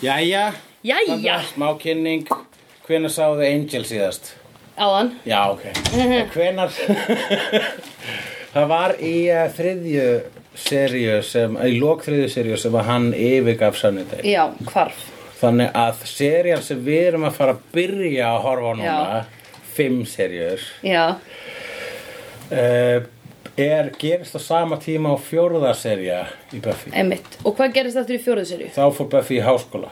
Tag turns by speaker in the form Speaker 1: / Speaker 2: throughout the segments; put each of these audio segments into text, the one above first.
Speaker 1: Jæja,
Speaker 2: Jæja.
Speaker 1: smá kynning Hvenær sáðu Angel síðast?
Speaker 2: Áðan.
Speaker 1: Já, ok Hvenær Það var í uh, þriðju seríu sem, í lok þriðju seríu sem að hann yfirgaf sannudeg
Speaker 2: Já, hvarf.
Speaker 1: Þannig að serían sem við erum að fara að byrja að horfa á núna
Speaker 2: Já.
Speaker 1: Fimm seríur
Speaker 2: Já.
Speaker 1: uh, Er gerist á sama tíma á fjórða sería í Buffy
Speaker 2: Einmitt. Og hvað gerist aftur í fjóruðu serju?
Speaker 1: Þá fór Buffy í háskóla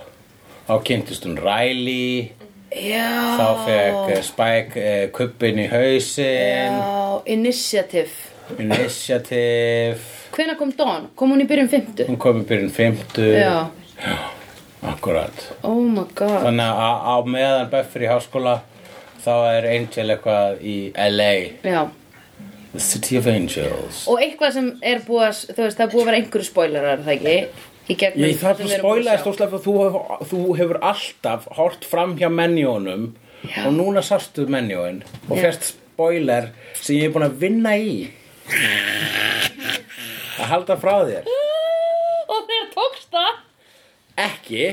Speaker 1: Þá kynntist hún Riley
Speaker 2: Já.
Speaker 1: Þá fekk eh, Spike eh, kubbin í hausin
Speaker 2: Já, initiative.
Speaker 1: Initiative
Speaker 2: Hvenær kom Dawn? Kom hún í byrjun 50?
Speaker 1: Hún kom í byrjun 50
Speaker 2: Já.
Speaker 1: Akkurat
Speaker 2: Oh my god.
Speaker 1: Þannig að á meðan Buffy er í háskóla Þá er Angel eitthvað í LA
Speaker 2: Já.
Speaker 1: The City of Angels
Speaker 2: Og eitthvað sem er búið að, þú veist, það er búið að vera einhverju spoilerar, er það ekki? Í gegnum.
Speaker 1: Ég þarf
Speaker 2: sem
Speaker 1: að
Speaker 2: við erum búin
Speaker 1: spoila
Speaker 2: sjá.
Speaker 1: þess stóðslega þú, hef- þú hefur alltaf hort fram hjá menjónum
Speaker 2: Já.
Speaker 1: og núna sastu menjóin og
Speaker 2: Já.
Speaker 1: fjast spoiler sem ég er búin að vinna í að halda frá þér
Speaker 2: Og þeir tókst það.
Speaker 1: ekki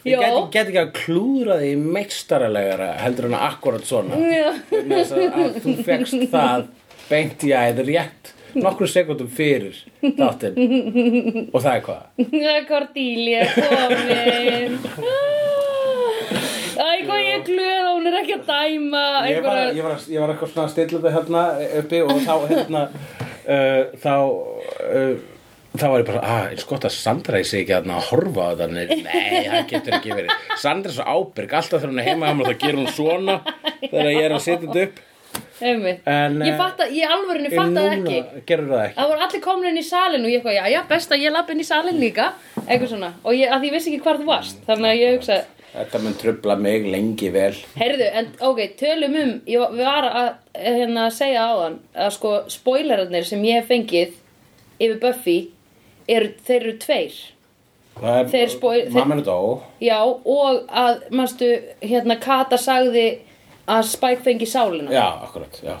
Speaker 2: Jó.
Speaker 1: ég get, get ekki að klúðra því meistaralegara heldur en akkurat svona
Speaker 2: Já.
Speaker 1: vegna þess að- að þú fegst það beint í æð rétt nokkru sekundum fyrir þáttinn og það er hvað
Speaker 2: Cordelia komin. Æ, hvað ég er glöð að hún er ekki að dæma
Speaker 1: ég var,
Speaker 2: einhverjar-
Speaker 1: ég, var, ég var eitthvað svona að stilla þau hérna uppi og þá hérna uh, þá uh, þá var ég bara, að, ah, eins gott að Sandra ég sé ekki hérna að horfa á það nei, það getur ekki verið, Sandra er svo ábyrg alltaf þegar hún er heima hjá mér, þá gerir hún svona þegar ég er að setja þetta upp
Speaker 2: Einmitt.
Speaker 1: En,
Speaker 2: ég
Speaker 1: eh,
Speaker 2: fatta, ég alvörinu fatta það ekki.
Speaker 1: gerur það ekki
Speaker 2: Það voru allir komnir inn í salin og ég eitthvað, já, já, best að ég lapp inn í salin líka, eitthvað svona. Og ég, að því ég vissi ekki hvar þú varst, þannig að ég hugsaði,
Speaker 1: þetta mun trubla mig lengi vel
Speaker 2: heyrðu, en ok, tölum um, ég var- var að, hérna, að segja áðan að sko, spoilerarnir sem ég hef fengið yfir Buffy, eru, þeir eru tveir.
Speaker 1: Það er-
Speaker 2: Þeir spoi- þeir-
Speaker 1: mamma er dó
Speaker 2: Já, og að, manstu, hérna, Kata sagði að Spike fengi sálina.
Speaker 1: já, akkurat, já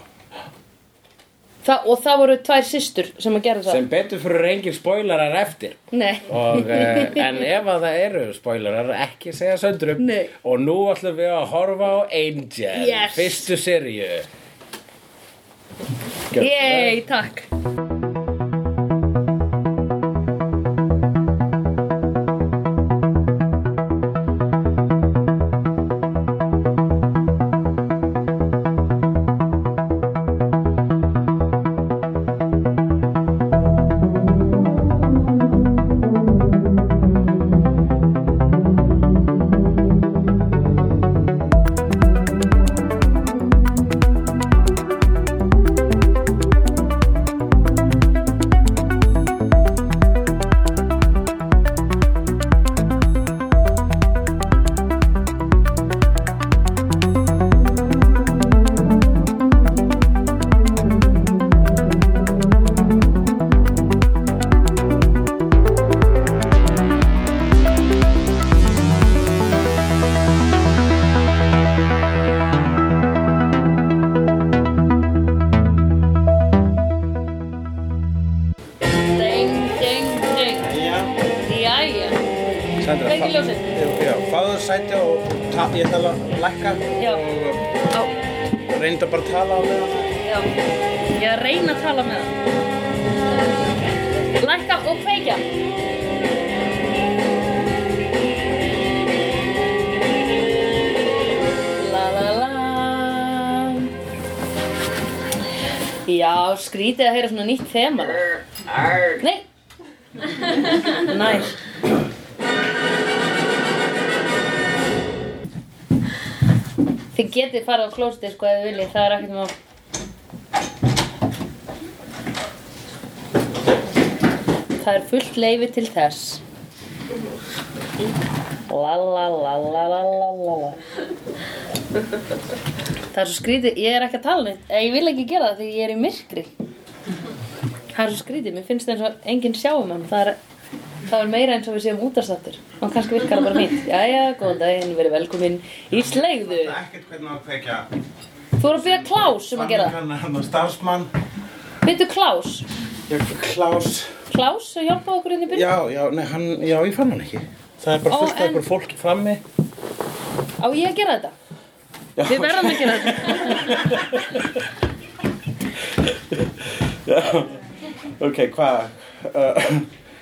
Speaker 2: Þa, og það voru tvær systur sem að gera það.
Speaker 1: sem betur fyrir engin spoilarar eftir
Speaker 2: Nei.
Speaker 1: og, uh, en ef að það eru spoilerar ekki segja söndrum
Speaker 2: Nei.
Speaker 1: og nú ætlum við að horfa á Angel
Speaker 2: Yes.
Speaker 1: fyrstu sirju
Speaker 2: Yey, takk. Ding, ding, ding. Jæja.
Speaker 1: Sandra,
Speaker 2: Kveiki ljósin.
Speaker 1: fáðu sæti og ta, ég ætla að lækka
Speaker 2: Já.
Speaker 1: og
Speaker 2: Á,
Speaker 1: reynda bara að tala á meðan
Speaker 2: já. Ég er að reyna að tala með það. Lækka og kveikja. La la la. Já, skrítið að heyra svona nýtt þema. Nei. Næs. Þið getið farið á klóstið sko ef þið viljið, það er ekkert mál. Það er fullt leifi til þess. La la la la la la la la. Það er svo skrítið, ég er ekki að tala neitt. Eh, Ég vil ekki gera það því ég er í myrkri. Það er svo skrítið, mér finnst eins og enginn sjáum hann. Það er, það er meira eins og við séum útastættur. Og kannski virkar það bara fínt. Jæja, góðan daginn, verið velkomin í sleigðu.
Speaker 1: ekkert hvernig að kveikja
Speaker 2: Þú voru að byggja Klaus um að gera það.
Speaker 1: hann hérna starfsmann
Speaker 2: Byttu Klaus.
Speaker 1: Klás
Speaker 2: Klaus sem hjálpaði okkur inn í byrjun.
Speaker 1: já, já, nei, hann, já, ég fann hann ekki
Speaker 3: það er
Speaker 2: Ó,
Speaker 3: bara fullt af
Speaker 2: en-
Speaker 3: einhver fólki frammi
Speaker 2: Á ég að gera þetta?
Speaker 3: Já.
Speaker 2: Við verðum að gera þetta
Speaker 3: ok, hvað uh,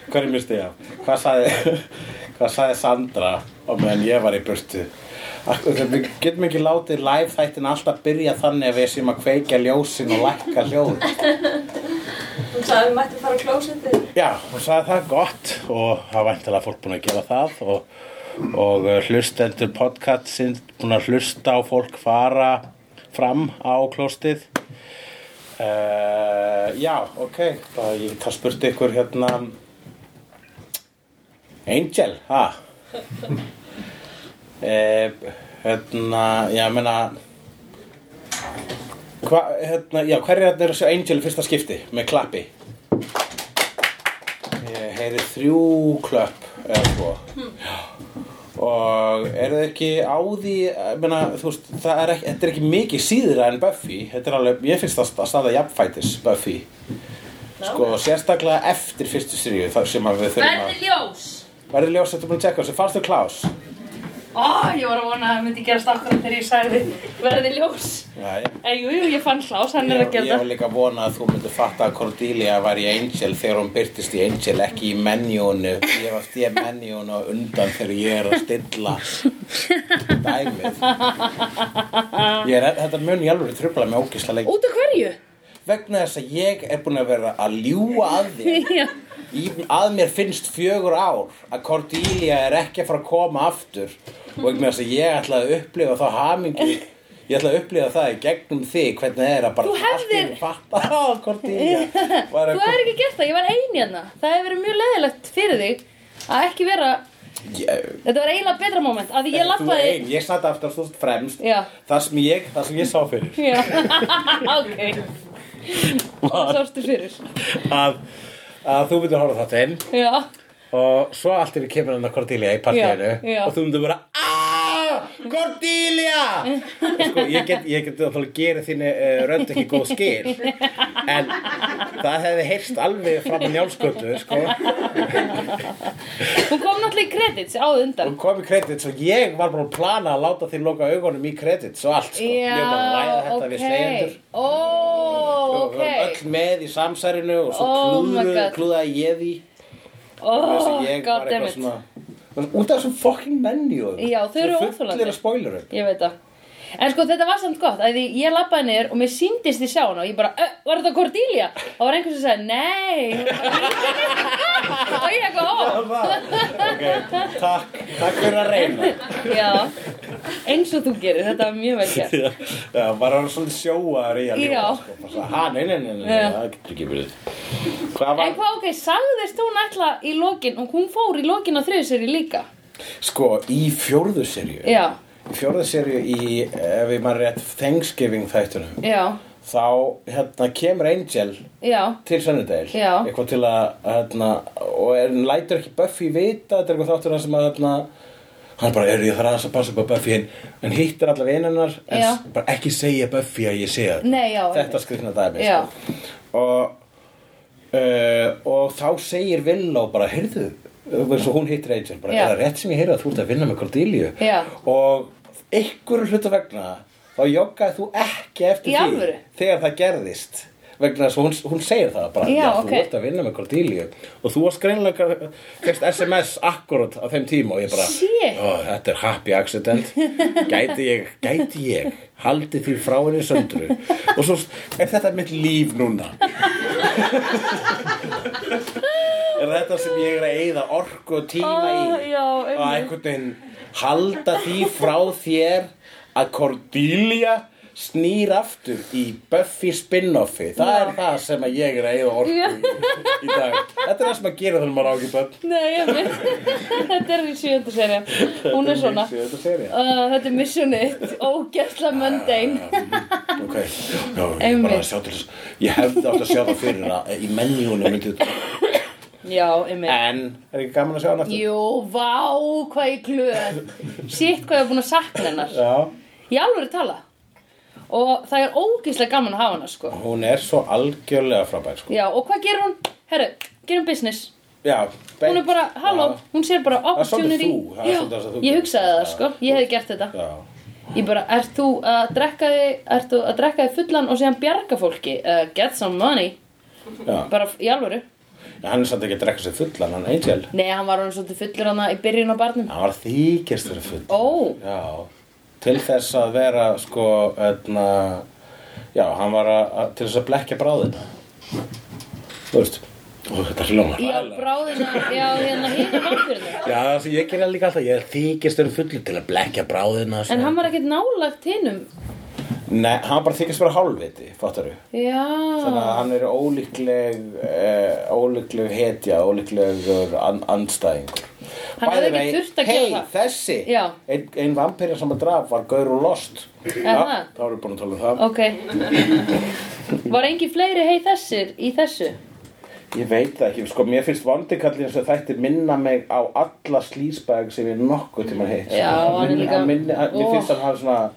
Speaker 3: hvað er mér stiga hvað sagði, hvað sagði Sandra á meðan ég var í burtu Af hverju- við getum ekki látið live þættin alltaf byrja þannig að við séum að kveikja ljósin og lækka hljóð
Speaker 4: Hún sagði að við mættum fara á klósettið.
Speaker 3: Já, hún sagði það gott og það væntalega fólk búin að gera það og, og uh, hlustendur podcastins búin að hlusta á fólk fara fram á klóstið. Uh, já, ok, það, ég, það spurti ykkur hérna Angel, ha? uh, hérna, já, ég meina hva, hérna, já, hverju hérna eru þessu Angel í fyrsta skipti með klappi? Ég heyri þrjú klöpp eða svo og er það ekki á því ég meina, þú veist, það er ekki, þetta er ekki mikið síðra en Buffy þetta er alveg, ég finnst það að staða jafnfætis Buffy sko, sérstaklega eftir fyrstu sérju þar sem að við þurfum
Speaker 2: Verði
Speaker 3: að
Speaker 2: ljós
Speaker 3: verður ljós þetta búin að tjekka þessu, fannstu Klaus?
Speaker 2: Ó, ég var að vona að það myndi gerast akkur þegar ég sagði verði ljós
Speaker 3: Já, ég,
Speaker 2: En jú, jú, ég fann hlás, hann er að
Speaker 3: ég, ég
Speaker 2: gera
Speaker 3: var
Speaker 2: það
Speaker 3: líka að vona að þú myndir fatta að Cordelia var í Angel þegar hún byrtist í Angel, ekki í menjónu ég var stíð menjónu og undan þegar ég er að stilla dæmið ég er, þetta mun ég alveg tröfla með ógislega leik
Speaker 2: Út af hverju?
Speaker 3: vegna þess að ég er búin að vera að ljúga að þér
Speaker 2: Já,
Speaker 3: Í, að mér finnst fjögur ár að Cordelia er ekki að fara að koma aftur og ekki með þess að ég ætla að upplifa þá hamingi ég ætla að upplifa það í gegnum þig hvernig það er að bara
Speaker 2: Þú hefðir-
Speaker 3: allt í einu fatta að Cordelia var
Speaker 2: þú
Speaker 3: að
Speaker 2: hefur ekki gert það, ég var ein hérna Það hefur verið mjög leðilegt fyrir þig að ekki vera
Speaker 3: ég,
Speaker 2: Þetta var eiginlega betra moment, af því ég
Speaker 3: þú
Speaker 2: lappaði
Speaker 3: ein, ég satt aftur þú ert fremst
Speaker 2: Já.
Speaker 3: það sem ég, það sem ég sá fyrir
Speaker 2: Já, ok Það sástu fyrir
Speaker 3: að, að þú myndir horfa þetta inn
Speaker 2: Já,
Speaker 3: og svo allt er í kemur hann að Cordelia í partíinu
Speaker 2: Já, já.
Speaker 3: og þú myndir bara
Speaker 1: Ah!
Speaker 3: aaaah, Cordelia sko, ég get, ég get að gera þínu uh, rönd ekki góð skil en það hefði heyrst alveg fram að njálskötu sko.
Speaker 2: hún kom náttúrulega í kredits áð undan
Speaker 3: og kom í kredits og ég var bara að plana að láta þér loka augunum í kredits og allt sko. ég var bara að ræða þetta við slegjendur
Speaker 2: Ó,
Speaker 3: og
Speaker 2: ok
Speaker 3: við vorum öll með í samsærinu og svo
Speaker 2: Oh my
Speaker 3: klúðu,
Speaker 2: God.
Speaker 3: klúðaði ég því
Speaker 2: Ó,
Speaker 3: Þess að ég var
Speaker 2: god damn
Speaker 3: eitthvað
Speaker 2: it
Speaker 3: svona út af þessum fokkin menjóðum
Speaker 2: Já, þau eru óþolandi.
Speaker 3: fullir að spoilerum
Speaker 2: Ég veit það En sko þetta var samt gott, að því ég lappaði niður og mér síndist ég sjá hana og ég bara, "Ö, var þetta Cordelia? Og var einhvers sem sagði, nei hún var bara í henni." Og ég eitthvað, ó
Speaker 3: okay. takk, takk fyrir að reyna
Speaker 2: Já, eins og þú gerir, þetta var mjög vel gert
Speaker 3: Já, já, bara hann svolítið sjóaður í
Speaker 2: Já.
Speaker 3: að lífa sko. Bara svona, Ha, nei, nei, nei, nei,
Speaker 2: Já.
Speaker 3: nei, það getur ekki verið Hvað
Speaker 2: En
Speaker 3: var,
Speaker 2: hvað, ok, sagðist hún ætla í lokin og hún fór í lokin á þriðseri líka
Speaker 3: sko, í fjórðu serju
Speaker 2: Já,
Speaker 3: Í fjórðu serju í, ef ég maður rétt, Thanksgiving þættunum
Speaker 2: já,
Speaker 3: Þá, hérna, kemur Angel
Speaker 2: já,
Speaker 3: til Sunnudale
Speaker 2: Já.
Speaker 3: Eitthvað til að, hérna, og er, hún lætur ekki Buffy vita Þetta er eitthvað þáttur hann sem að, hérna Hann bara, er ég þarf aðeins að passa upp á Buffy En, en hittir alla vinarnar En
Speaker 2: Já.
Speaker 3: s- bara ekki segja Buffy að ég sé það
Speaker 2: nei, já
Speaker 3: þetta skrifna dæmi
Speaker 2: Já.
Speaker 3: sko. og uh, og þá segir Villó bara, heyrðu eins og hún heitir Angel, bara,
Speaker 2: Já.
Speaker 3: er það rétt sem ég heyrði að þú ert að vinna með Cordelia
Speaker 2: Já.
Speaker 3: og ykkur hluta vegna þá joggaði þú ekki
Speaker 2: Í
Speaker 3: eftir því
Speaker 2: alvöru?
Speaker 3: þegar það gerðist vegna þess að hún, hún segir það bara,
Speaker 2: Já,
Speaker 3: þú
Speaker 2: ok.
Speaker 3: ert að vinna með Cordelia og þú varst greinlega fyrst SMS akkurat á þeim tíma og ég bara,
Speaker 2: Shit.
Speaker 3: "Ó, þetta er happy accident gæti ég, gæti ég haldi því frá henni söndru og svo er þetta mitt líf núna er þetta sem ég er að eyða orku og tíma
Speaker 2: Ó,
Speaker 3: í
Speaker 2: já,
Speaker 3: að
Speaker 2: einmitt.
Speaker 3: einhvern veginn halda því frá þér að Cordelia snýr aftur í Buffy spin-offi það
Speaker 2: Já.
Speaker 3: er það sem að ég er að eyða orku
Speaker 2: Já.
Speaker 3: í, í dag þetta er það sem að gera þannig maður á ekki börn
Speaker 2: Nei, ég veit, þetta er í sjöndu serja Hún er svona
Speaker 3: Þetta er serið.
Speaker 2: Uh, þetta er missionið, ógæsla mundane
Speaker 3: Ok, já, ég
Speaker 2: Einmitt.
Speaker 3: bara að sjá til þess Ég hefði átt að sjá það fyrir að í menjúnu myndi þetta
Speaker 2: Já, einmitt
Speaker 3: En, er ekki gaman að sjá hann aftur?
Speaker 2: Jú, vá, hvað ég glöð Sitt hvað ég er búin að sakna hennar
Speaker 3: Já,
Speaker 2: Ég alveg tala Og það er ógæslega gaman að hafa hennar, sko
Speaker 3: hún er svo algjörlega frábær sko.
Speaker 2: Já, og hvað gerir hún? Herru, gerum business
Speaker 3: já, beint.
Speaker 2: Hún er bara, halló,
Speaker 3: Já.
Speaker 2: hún sér bara
Speaker 3: er svolítið
Speaker 2: opportunity
Speaker 3: þú, það er
Speaker 2: Já,
Speaker 3: svolítið það sem þú
Speaker 2: Ég
Speaker 3: gerir.
Speaker 2: hugsaði það
Speaker 3: Já.
Speaker 2: sko, ég hefði gert þetta
Speaker 3: Já.
Speaker 2: Ég bara, ert þú að drekka þig Ert þú að drekka þig fullan og síðan bjarga fólki uh, Get some money
Speaker 3: Já.
Speaker 2: Bara í alvöru
Speaker 3: Já, hann er samt ekki að drekka sér fullan, hann Angel.
Speaker 2: Nei, hann var hann svolítið fullur hann í byrjun á barnum
Speaker 3: Hann var að þykjast fyrir fullan.
Speaker 2: Ó,
Speaker 3: Já, til þess að vera, sko, öðna, já, hann var að, að- til þess að blekja bráðina. Þú veist, ó, þetta hljómar.
Speaker 2: já, bráðina Já, hérna, hérna vampirinu
Speaker 1: Já, það sem ég gerði líka alltaf, ég þykist þeirra fullu til að blekja bráðina
Speaker 2: En hann var ekkert nálægt hinnum
Speaker 3: Nei, hann bara þykjast fyrir hálfviti, fattar við. Þannig að
Speaker 2: Já,
Speaker 3: hann er ólíkleg, eh, ólíkleg hetja, ólíklegur an, andstæðingur.
Speaker 2: Hann hefði
Speaker 3: By the
Speaker 2: ekki
Speaker 3: way,
Speaker 2: þurft að gera
Speaker 3: hey,
Speaker 2: það.
Speaker 3: þessi,
Speaker 2: Já.
Speaker 3: ein, ein vampirja sem að draf var gaur og lost.
Speaker 2: Aha.
Speaker 3: þá erum við búin að tala um það.
Speaker 2: ok Var engin fleiri hei þessir í þessu?
Speaker 3: Ég veit það ekki, sko, mér finnst vondikallin eins og þætti minna mig á alla slísbæg sem ég nokkuð tíma hitt.
Speaker 2: Já, hann er
Speaker 3: hann
Speaker 2: líka-
Speaker 3: Minni, hann, mér
Speaker 2: Ó.
Speaker 3: finnst hann hafa svona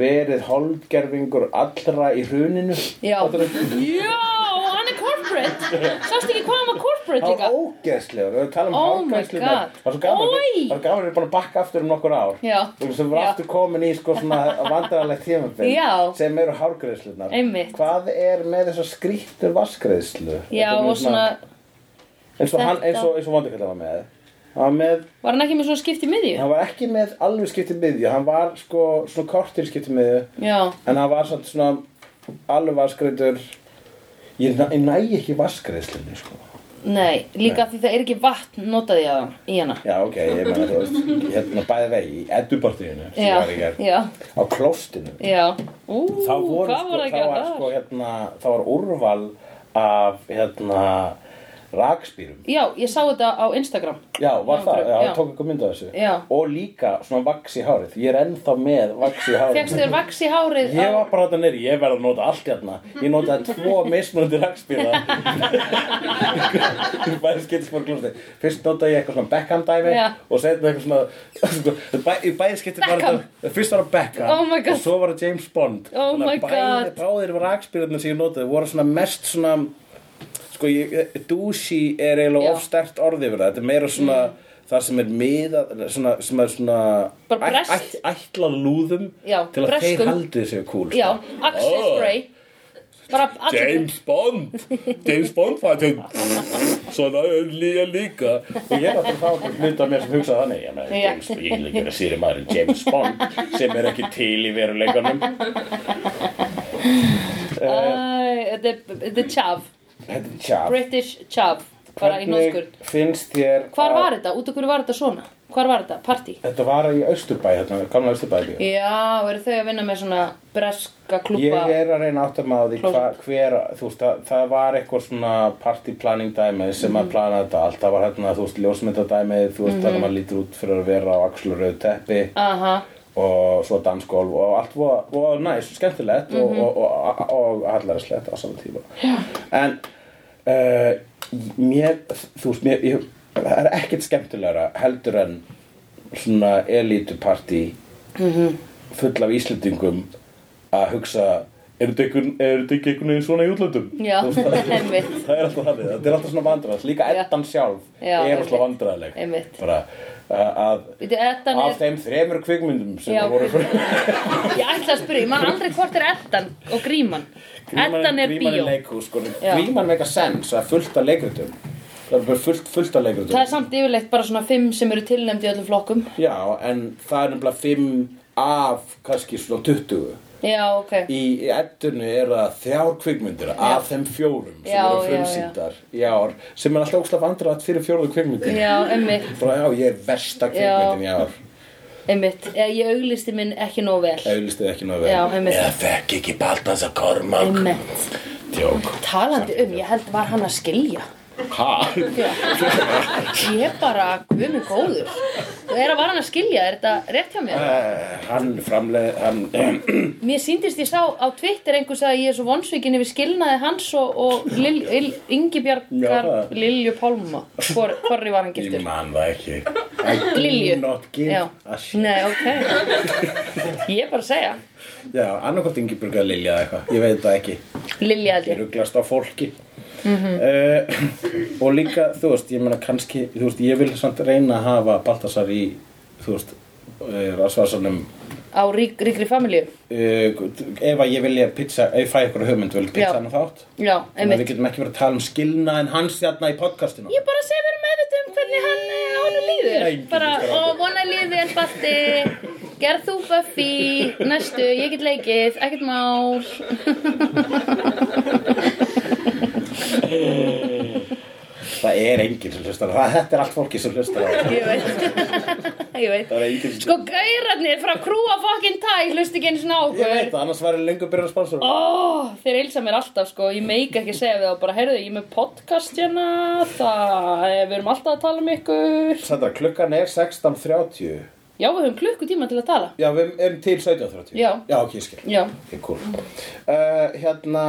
Speaker 3: verið holdgerfingur allra í hruninu.
Speaker 2: Já.
Speaker 3: Fattarðu?
Speaker 2: Já, hann er corporate Sást ekki hvað hann var corporate
Speaker 3: Það
Speaker 2: líka
Speaker 3: var ógeðslegur, við talum
Speaker 2: Oh
Speaker 3: um
Speaker 2: my
Speaker 3: hárgæslu
Speaker 2: God.
Speaker 3: Það var svo gaman,
Speaker 2: Oj.
Speaker 3: það var gaman að við búin að bakka aftur um nokkur ár
Speaker 2: Já.
Speaker 3: Og sem var
Speaker 2: Já.
Speaker 3: aftur komin í sko svona vandrarlegt tímabil
Speaker 2: Já.
Speaker 3: Sem eru hárgæslunar
Speaker 2: Einmitt.
Speaker 3: Hvað er með þessar skrýttur vaskgæslu?
Speaker 2: Já, og svona
Speaker 3: Eins og, hann,
Speaker 2: þetta-
Speaker 3: eins og, eins og vandrarkall var með Hann var með,
Speaker 2: Var hann ekki með svona skipt í miðju?
Speaker 3: hann var ekki með alveg skipti miðju Hann var sko svona kortir skipti miðju
Speaker 2: Já,
Speaker 3: En hann var samt svona alveg vaskgreitur Ég, næ- ég næ ekki vaskgreislunni sko
Speaker 2: nei, líka því það er ekki vatn notaði að hann í hana
Speaker 3: Já, ok, ég meina þú veist, hérna bæði vegi í eddupartíðinu sem ég var í
Speaker 2: Já,
Speaker 3: gerð,
Speaker 2: já,
Speaker 3: á klóstinu.
Speaker 2: já Ú,
Speaker 3: Þá
Speaker 2: hvað
Speaker 3: voru,
Speaker 2: var
Speaker 3: sko,
Speaker 2: það að
Speaker 3: þá
Speaker 2: gera
Speaker 3: var, sko,
Speaker 2: þar?
Speaker 3: hérna, þá var úrval af, hérna, rakspýrum.
Speaker 2: Já, ég sá þetta á Instagram
Speaker 3: Já, var
Speaker 2: Já,
Speaker 3: það, já,
Speaker 2: já.
Speaker 3: já. tók eitthvað mynd af þessu.
Speaker 2: Já.
Speaker 3: Og líka svona vaks í hárið, ég er ennþá með vaks í hárið.
Speaker 2: Fekst þér vaks í hárið
Speaker 3: Ég
Speaker 2: á...
Speaker 3: var bara þetta neyri, ég verði að nota allt hérna Ég notaði tvo mismunandi rakspýra Bæði skiptis bara klósti Fyrst notaði ég eitthvað svona Beckham dæmi
Speaker 2: Já.
Speaker 3: Og setna eitthvað svona sko, bæ, í Bæði skiptis bara
Speaker 2: Beckham.
Speaker 3: þetta- Fyrst var það Beckham
Speaker 2: Oh my God.
Speaker 3: Og svo var það James Bond
Speaker 2: Oh
Speaker 3: Þannig að
Speaker 2: my God.
Speaker 3: Bæði báðir rakspýrarnir sem ég notaði voru svona mest svona Sko, ég, douchey er
Speaker 2: Já. Mm.
Speaker 3: eiginlega of stert orði yfir það Þetta er meira svona Það sem er miðað, svona, sem er svona
Speaker 2: Bara brest.
Speaker 3: ætla lúðum
Speaker 2: Já,
Speaker 3: til að
Speaker 2: breskum.
Speaker 3: þeir haldið séu cool
Speaker 2: Já,
Speaker 3: sko.
Speaker 2: Axel
Speaker 3: Ó,
Speaker 2: Spray Bara allir
Speaker 1: James Bond, James Bond fættin, svona líka líka.
Speaker 3: Og ég er alltaf þá að hluta mér sem hugsa þannig Ég meina,
Speaker 2: Já.
Speaker 3: James, ég vil ekki vera síri maðurinn James Bond sem er ekki til í veruleikanum
Speaker 2: Æ, Þetta er- þetta er chav
Speaker 3: Þetta er tjaf
Speaker 2: British chav Bara í nóðskur
Speaker 3: finnst þér
Speaker 2: Hvar
Speaker 3: að-
Speaker 2: var þetta? Út af hverju var þetta svona? Hvar var þetta? Party?
Speaker 3: Þetta var í Austurbæ, hérna, gamla Austurbæ bíó.
Speaker 2: Já, eru þau að vinna með svona breska klúpa
Speaker 3: Ég er að reyna átt að maður því hva,
Speaker 2: Klósett.
Speaker 3: hver, þú veist, það, það var eitthvað svona party planning dæmi sem
Speaker 2: Mhm.
Speaker 3: að plana þetta allt, það var hérna, þú veist, ljósmynda dæmi, þú veist, þannig að maður lítur út fyrir að vera á axlur auð teppi
Speaker 2: Aha,
Speaker 3: og svo dansgólf og allt voða voða næs, skemmtilegt mm
Speaker 2: Mhm.
Speaker 3: -hmm. og, og, og, og hallærislegt á saman tíma en uh, mér, þú veist mér, ég, það er ekkert skemmtilegra heldur en svona elítupartí
Speaker 2: Mhm.
Speaker 3: full af Íslendingum að hugsa er þetta einhvern- er þetta ekki einhvern veginn svona í útlöndum
Speaker 2: já,
Speaker 3: Þú veist, það-
Speaker 2: einmitt
Speaker 3: það er alltaf þannig, þetta er alltaf svona vandræðast líka
Speaker 2: Já.
Speaker 3: eddan sjálf
Speaker 2: Já,
Speaker 3: er
Speaker 2: einmitt.
Speaker 3: alltaf vandræðileg
Speaker 2: Einmitt.
Speaker 3: bara uh, að
Speaker 2: Veitu, Eddan
Speaker 3: af
Speaker 2: er,
Speaker 3: þeim þremur kvikmyndum sem
Speaker 2: Já,
Speaker 3: voru
Speaker 2: ég ætla að spyrja, ég man aldrei hvort er Eddan og Gríman Eddan er
Speaker 3: Gríman
Speaker 2: bíó
Speaker 3: er leikhús, sko.
Speaker 2: Já.
Speaker 3: Gríman make a sense, það er fullt af leikritum Það er bara fullt, fullt af leikritum
Speaker 2: Það er samt yfirleitt bara svona fimm sem eru tilnefnd í öllum flokkum
Speaker 3: Já, en það er nefnilega fimm af kannski svona 20
Speaker 2: Já, ok
Speaker 3: Í í eddunni eru það þrjár kvikmyndir af þeim fjórum sem
Speaker 2: Já,
Speaker 3: eru
Speaker 2: já,
Speaker 3: frumsýndar í ár sem er alltaf óslega vandrætt fyrir fjóruðu kvikmyndir
Speaker 2: Já, einmitt,
Speaker 3: Frá já, ég er versta kvikmyndin í ár
Speaker 2: einmitt Ég, ég auglisti minn ekki nóg vel
Speaker 3: Auðlistið ekki náðu
Speaker 2: Já, einmitt.
Speaker 3: Ég fekk ekki Baltas að korma
Speaker 2: Einmitt
Speaker 3: Tjók
Speaker 2: Talandi um, ég held var hann að skilja
Speaker 3: Ha?
Speaker 2: Ég bara, guð minn góður Þú er að var hann að skilja, er þetta rétt hjá mér?
Speaker 3: Eh, Hann framleið, hann
Speaker 2: Mér síndist ég sá á Twitter einhvers að ég er svo vonsvikin yfir skilnaði hans og, og Lil, Il,
Speaker 3: Já,
Speaker 2: Ingibjargar
Speaker 3: það.
Speaker 2: Lilju Pálma Hvor, Hvorri var hann
Speaker 3: Ég
Speaker 2: giftur?
Speaker 3: man það ekki I
Speaker 2: Lilju.
Speaker 3: do not give
Speaker 2: Já,
Speaker 3: a shit
Speaker 2: nei, ok Ég er bara að segja
Speaker 3: Já, annarkvæmt Ingeborg að Lilja eða eitthvað Ég veit það ekki
Speaker 2: Lilja held
Speaker 3: Ég
Speaker 2: ég
Speaker 3: ruglast á fólki
Speaker 2: Mhm.
Speaker 3: Eh, og líka, þú veist, ég meina kannski, þú veist, ég vil samt reyna að hafa Baltasar í, þú veist, uh, rasvarsanum
Speaker 2: á rík, ríkri familju
Speaker 3: Uh, ef að ég vilja pizza, ef ég fæ ykkur hugmynd vil pizza
Speaker 2: Já.
Speaker 3: hann þátt
Speaker 2: já,
Speaker 3: þannig að við
Speaker 2: einmitt
Speaker 3: getum ekki verið að tala um skilnaðin hans þarna í podcastinu
Speaker 2: ég bara segi verið meðvitað um hvernig hann eh, honum líður
Speaker 3: Engin
Speaker 2: bara,
Speaker 3: er skráður.
Speaker 2: og vona líður vel Balti gerð þú Buffy næstu, ég get leikið, ekkert mál
Speaker 3: það er enginn sem hlustar á það þetta er allt fólki sem hlustar á það
Speaker 2: ég veit ég veit
Speaker 3: það er enginn
Speaker 2: sko gaurarnir frá krúa fokkin tæ hlust ekki eins og
Speaker 3: ég veit
Speaker 2: nákur
Speaker 3: það, annars væri lengur byrjað að spánsur
Speaker 2: Ó, þeir eilsa mér alltaf sko, ég meik ekki segja við þá bara, heyrðu, ég er með podcast hérna, það, við erum alltaf að tala um ykkur.
Speaker 3: Sandra, klukkan er 16.30
Speaker 2: Já, við höfum klukkutíma til að tala.
Speaker 3: já, við erum til 17.30
Speaker 2: Já.
Speaker 3: já ok, ég skil
Speaker 2: Já,
Speaker 3: Ok, cool. uh, hérna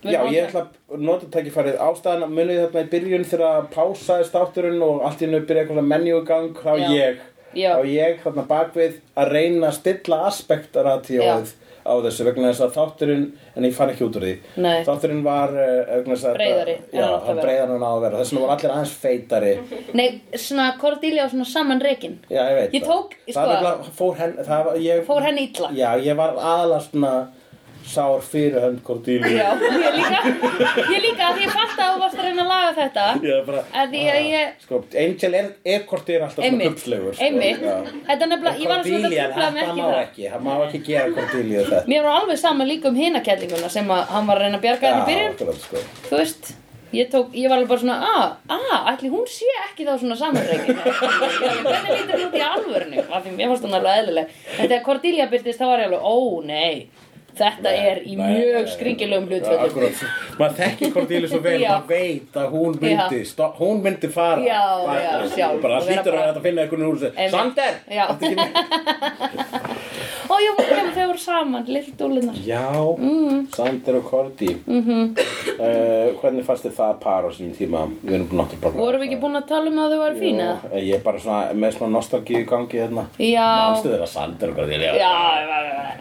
Speaker 2: Við
Speaker 3: Já,
Speaker 2: erum áfram.
Speaker 3: ég ætla að nota tækifærið ástæðan að munið þarna í byrjun þegar að pásaði státturinn og allt í nöðu byrja eitthvað menjugang þá
Speaker 2: Já.
Speaker 3: ég,
Speaker 2: Já.
Speaker 3: þá ég þarna bakvið að reyna að stilla aspektaratíóið á þessu vegna þess að þátturinn, en ég fann ekki út úr því
Speaker 2: Nei.
Speaker 3: þátturinn var uh, vegna þess að
Speaker 2: Breiðari
Speaker 3: þetta-
Speaker 2: en
Speaker 3: já,
Speaker 2: hann átti að
Speaker 3: hann
Speaker 2: vera.
Speaker 3: breiðar hann á að vera, þess vegna voru allir aðeins feitari
Speaker 2: nei, svona Cordelia og svona saman reikin.
Speaker 3: Já, ég veit
Speaker 2: Ég
Speaker 3: það.
Speaker 2: tók- ég
Speaker 3: það
Speaker 2: sko-
Speaker 3: nefnilega fór henni, það var, ég
Speaker 2: Fór henni illa.
Speaker 3: Já, ég var aðalega svona sár fyrir hönd Cordelia
Speaker 2: Já, ég líka, ég líka, af því ég fatt að þú varst að reyna að laga þetta.
Speaker 3: Já, bara,
Speaker 2: Að því að ég,
Speaker 3: sko, Angel er, er hvort þið er alltaf svona
Speaker 2: einmitt,
Speaker 3: kubbslegur sko,
Speaker 2: einmitt,
Speaker 3: já.
Speaker 2: þetta er nefnilega, ég var að svona
Speaker 3: Cordelia,
Speaker 2: að trúfla með
Speaker 3: það
Speaker 2: ekki
Speaker 3: má
Speaker 2: það.
Speaker 3: ekki, það má ekki gera Cordelia þetta
Speaker 2: Mér var alveg sama líka um hinakellinguna sem að hann var að reyna að bjarga henni í byrjun.
Speaker 3: akkurat, sko.
Speaker 2: þú veist ég, tók, ég var alveg bara svona að, að, ætli hún sé ekki þá svona samanreikin hvernig lítur hún út í alvörinu af því mér fannst hún alveg eðlileg en þegar Cordelia byrtist þá var ég alveg, ó nei þetta er í
Speaker 3: nei,
Speaker 2: mjög
Speaker 3: nei.
Speaker 2: skringilegum
Speaker 3: Já,
Speaker 2: hlutföllum
Speaker 3: akkurat, maður þekkir Cordelia svo vel
Speaker 2: Já.
Speaker 3: maður veit að hún myndi stó, hún myndi fara
Speaker 2: Já,
Speaker 3: bara,
Speaker 2: já, sjálf,
Speaker 3: bara
Speaker 2: og vera
Speaker 3: hlýtur að
Speaker 2: bara-
Speaker 3: þetta finna einhvern úr þessu
Speaker 2: Einmitt.
Speaker 3: Sander!
Speaker 2: Já.
Speaker 3: Ertu ekki með-
Speaker 2: ó já, já, þau voru saman, lill dúlunar
Speaker 3: Já,
Speaker 2: Mhm.
Speaker 3: Sander og Cordy mm Hvernig fannst þið það par á sínum tíma? Við erum búin að
Speaker 2: vorum við ekki búin að tala um að þau var fína
Speaker 3: Jú, Ég er bara svona, með svona nostalgíu í gangi hérna
Speaker 2: já,
Speaker 3: Manstu þeirra Sander og Eh, Cordelia?
Speaker 2: já ég var-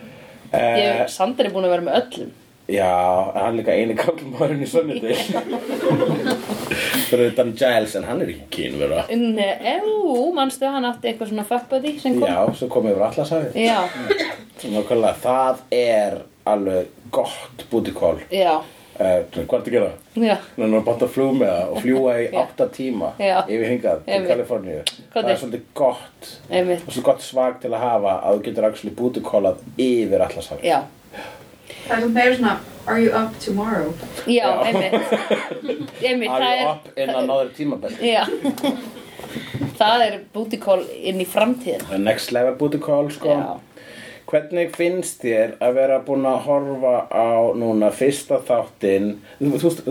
Speaker 2: ég, Sander er búin að vera með öllum
Speaker 3: Já, en hann er líka eini kallmaðurinn í Sunnydale Fyrir utan Giles, en hann er ekki kynvera
Speaker 2: en, eú, manstu hann átti eitthvað svona fuckbuddy sem kom
Speaker 3: Já, svo komið yfir allarsafið
Speaker 2: já,
Speaker 3: Nákvæmlega, það er alveg gott bútikól uh,
Speaker 2: já,
Speaker 3: Hvað er að gera?
Speaker 2: já.
Speaker 3: Núna er bara að fljú með það og fljúa í
Speaker 2: Já.
Speaker 3: átta tíma
Speaker 2: Já.
Speaker 3: yfir hingað til
Speaker 2: Einmitt.
Speaker 3: Kaliforníu Það
Speaker 2: er?
Speaker 3: er svolítið gott
Speaker 2: einmitt
Speaker 3: og svo gott svag til að hafa að þú getur actually bútikólað yfir allarsafið
Speaker 2: Já,
Speaker 4: Það er sem þeir eru svona, are you up tomorrow?
Speaker 2: já,
Speaker 3: Já.
Speaker 2: einmitt Einmitt,
Speaker 3: Are
Speaker 2: það
Speaker 3: you
Speaker 2: er
Speaker 3: up in another tíma bæl?
Speaker 2: Já Það er booty call inn í framtíðina
Speaker 3: Next level bútikól, sko
Speaker 2: Já,
Speaker 3: Hvernig finnst þér að vera búin að horfa á núna fyrsta þáttinn þú, þú, veist,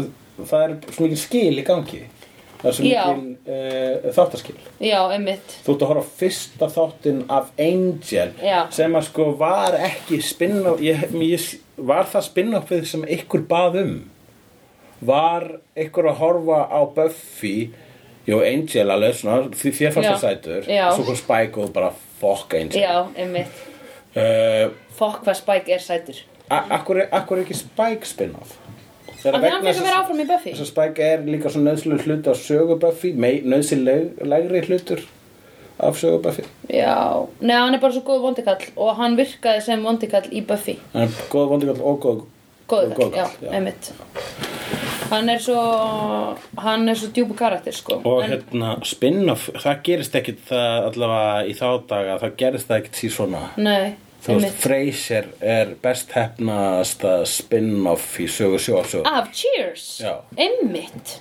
Speaker 3: það er svo mikið skil í gangi það er svo
Speaker 2: Já.
Speaker 3: mikið uh, þáttaskil
Speaker 2: já, einmitt
Speaker 3: þú ert að horfa á fyrsta þáttinn af Angel
Speaker 2: Já.
Speaker 3: sem að sko var ekki spinna ég, ég, var það spinna upp við sem ykkur bað um var ykkur að horfa á Buffy Jó, Angel alveg svona, því þér fannst
Speaker 2: Já.
Speaker 3: það sætur
Speaker 2: Já.
Speaker 3: svo kom Spike og bara fuck Angel
Speaker 2: Já, einmitt
Speaker 3: Eh,
Speaker 2: Fokk hvað Spike er sætur
Speaker 3: A- Akkur er, akkur er ekki Spike spin-off? Það
Speaker 2: Af því hann fekk að vera áfram í Buffy
Speaker 3: Þess að Spike er líka svo nöðsynleg hlut af sögu Buffy, nöðsynlegri hlutur af sögu Buffy.
Speaker 2: Já, neða, hann er bara svo góð vondikall og hann virkaði sem vondikall í Buffy
Speaker 3: Hann er góð vondikall og góð
Speaker 2: Góðu
Speaker 3: góð
Speaker 2: kall, já, einmitt Hann er svo hann er svo djúbu karakter, sko
Speaker 3: Og
Speaker 2: En-
Speaker 3: hérna, spin-off, það gerist ekkit það allavega í þá daga, það gerist það ekkit síð svona.
Speaker 2: Nei,
Speaker 3: Þú veist,
Speaker 2: einmitt
Speaker 3: Frasier er best hefnaðasta spin-off í sögu sjóarsögu.
Speaker 2: Af Cheers,
Speaker 3: Já.
Speaker 2: einmitt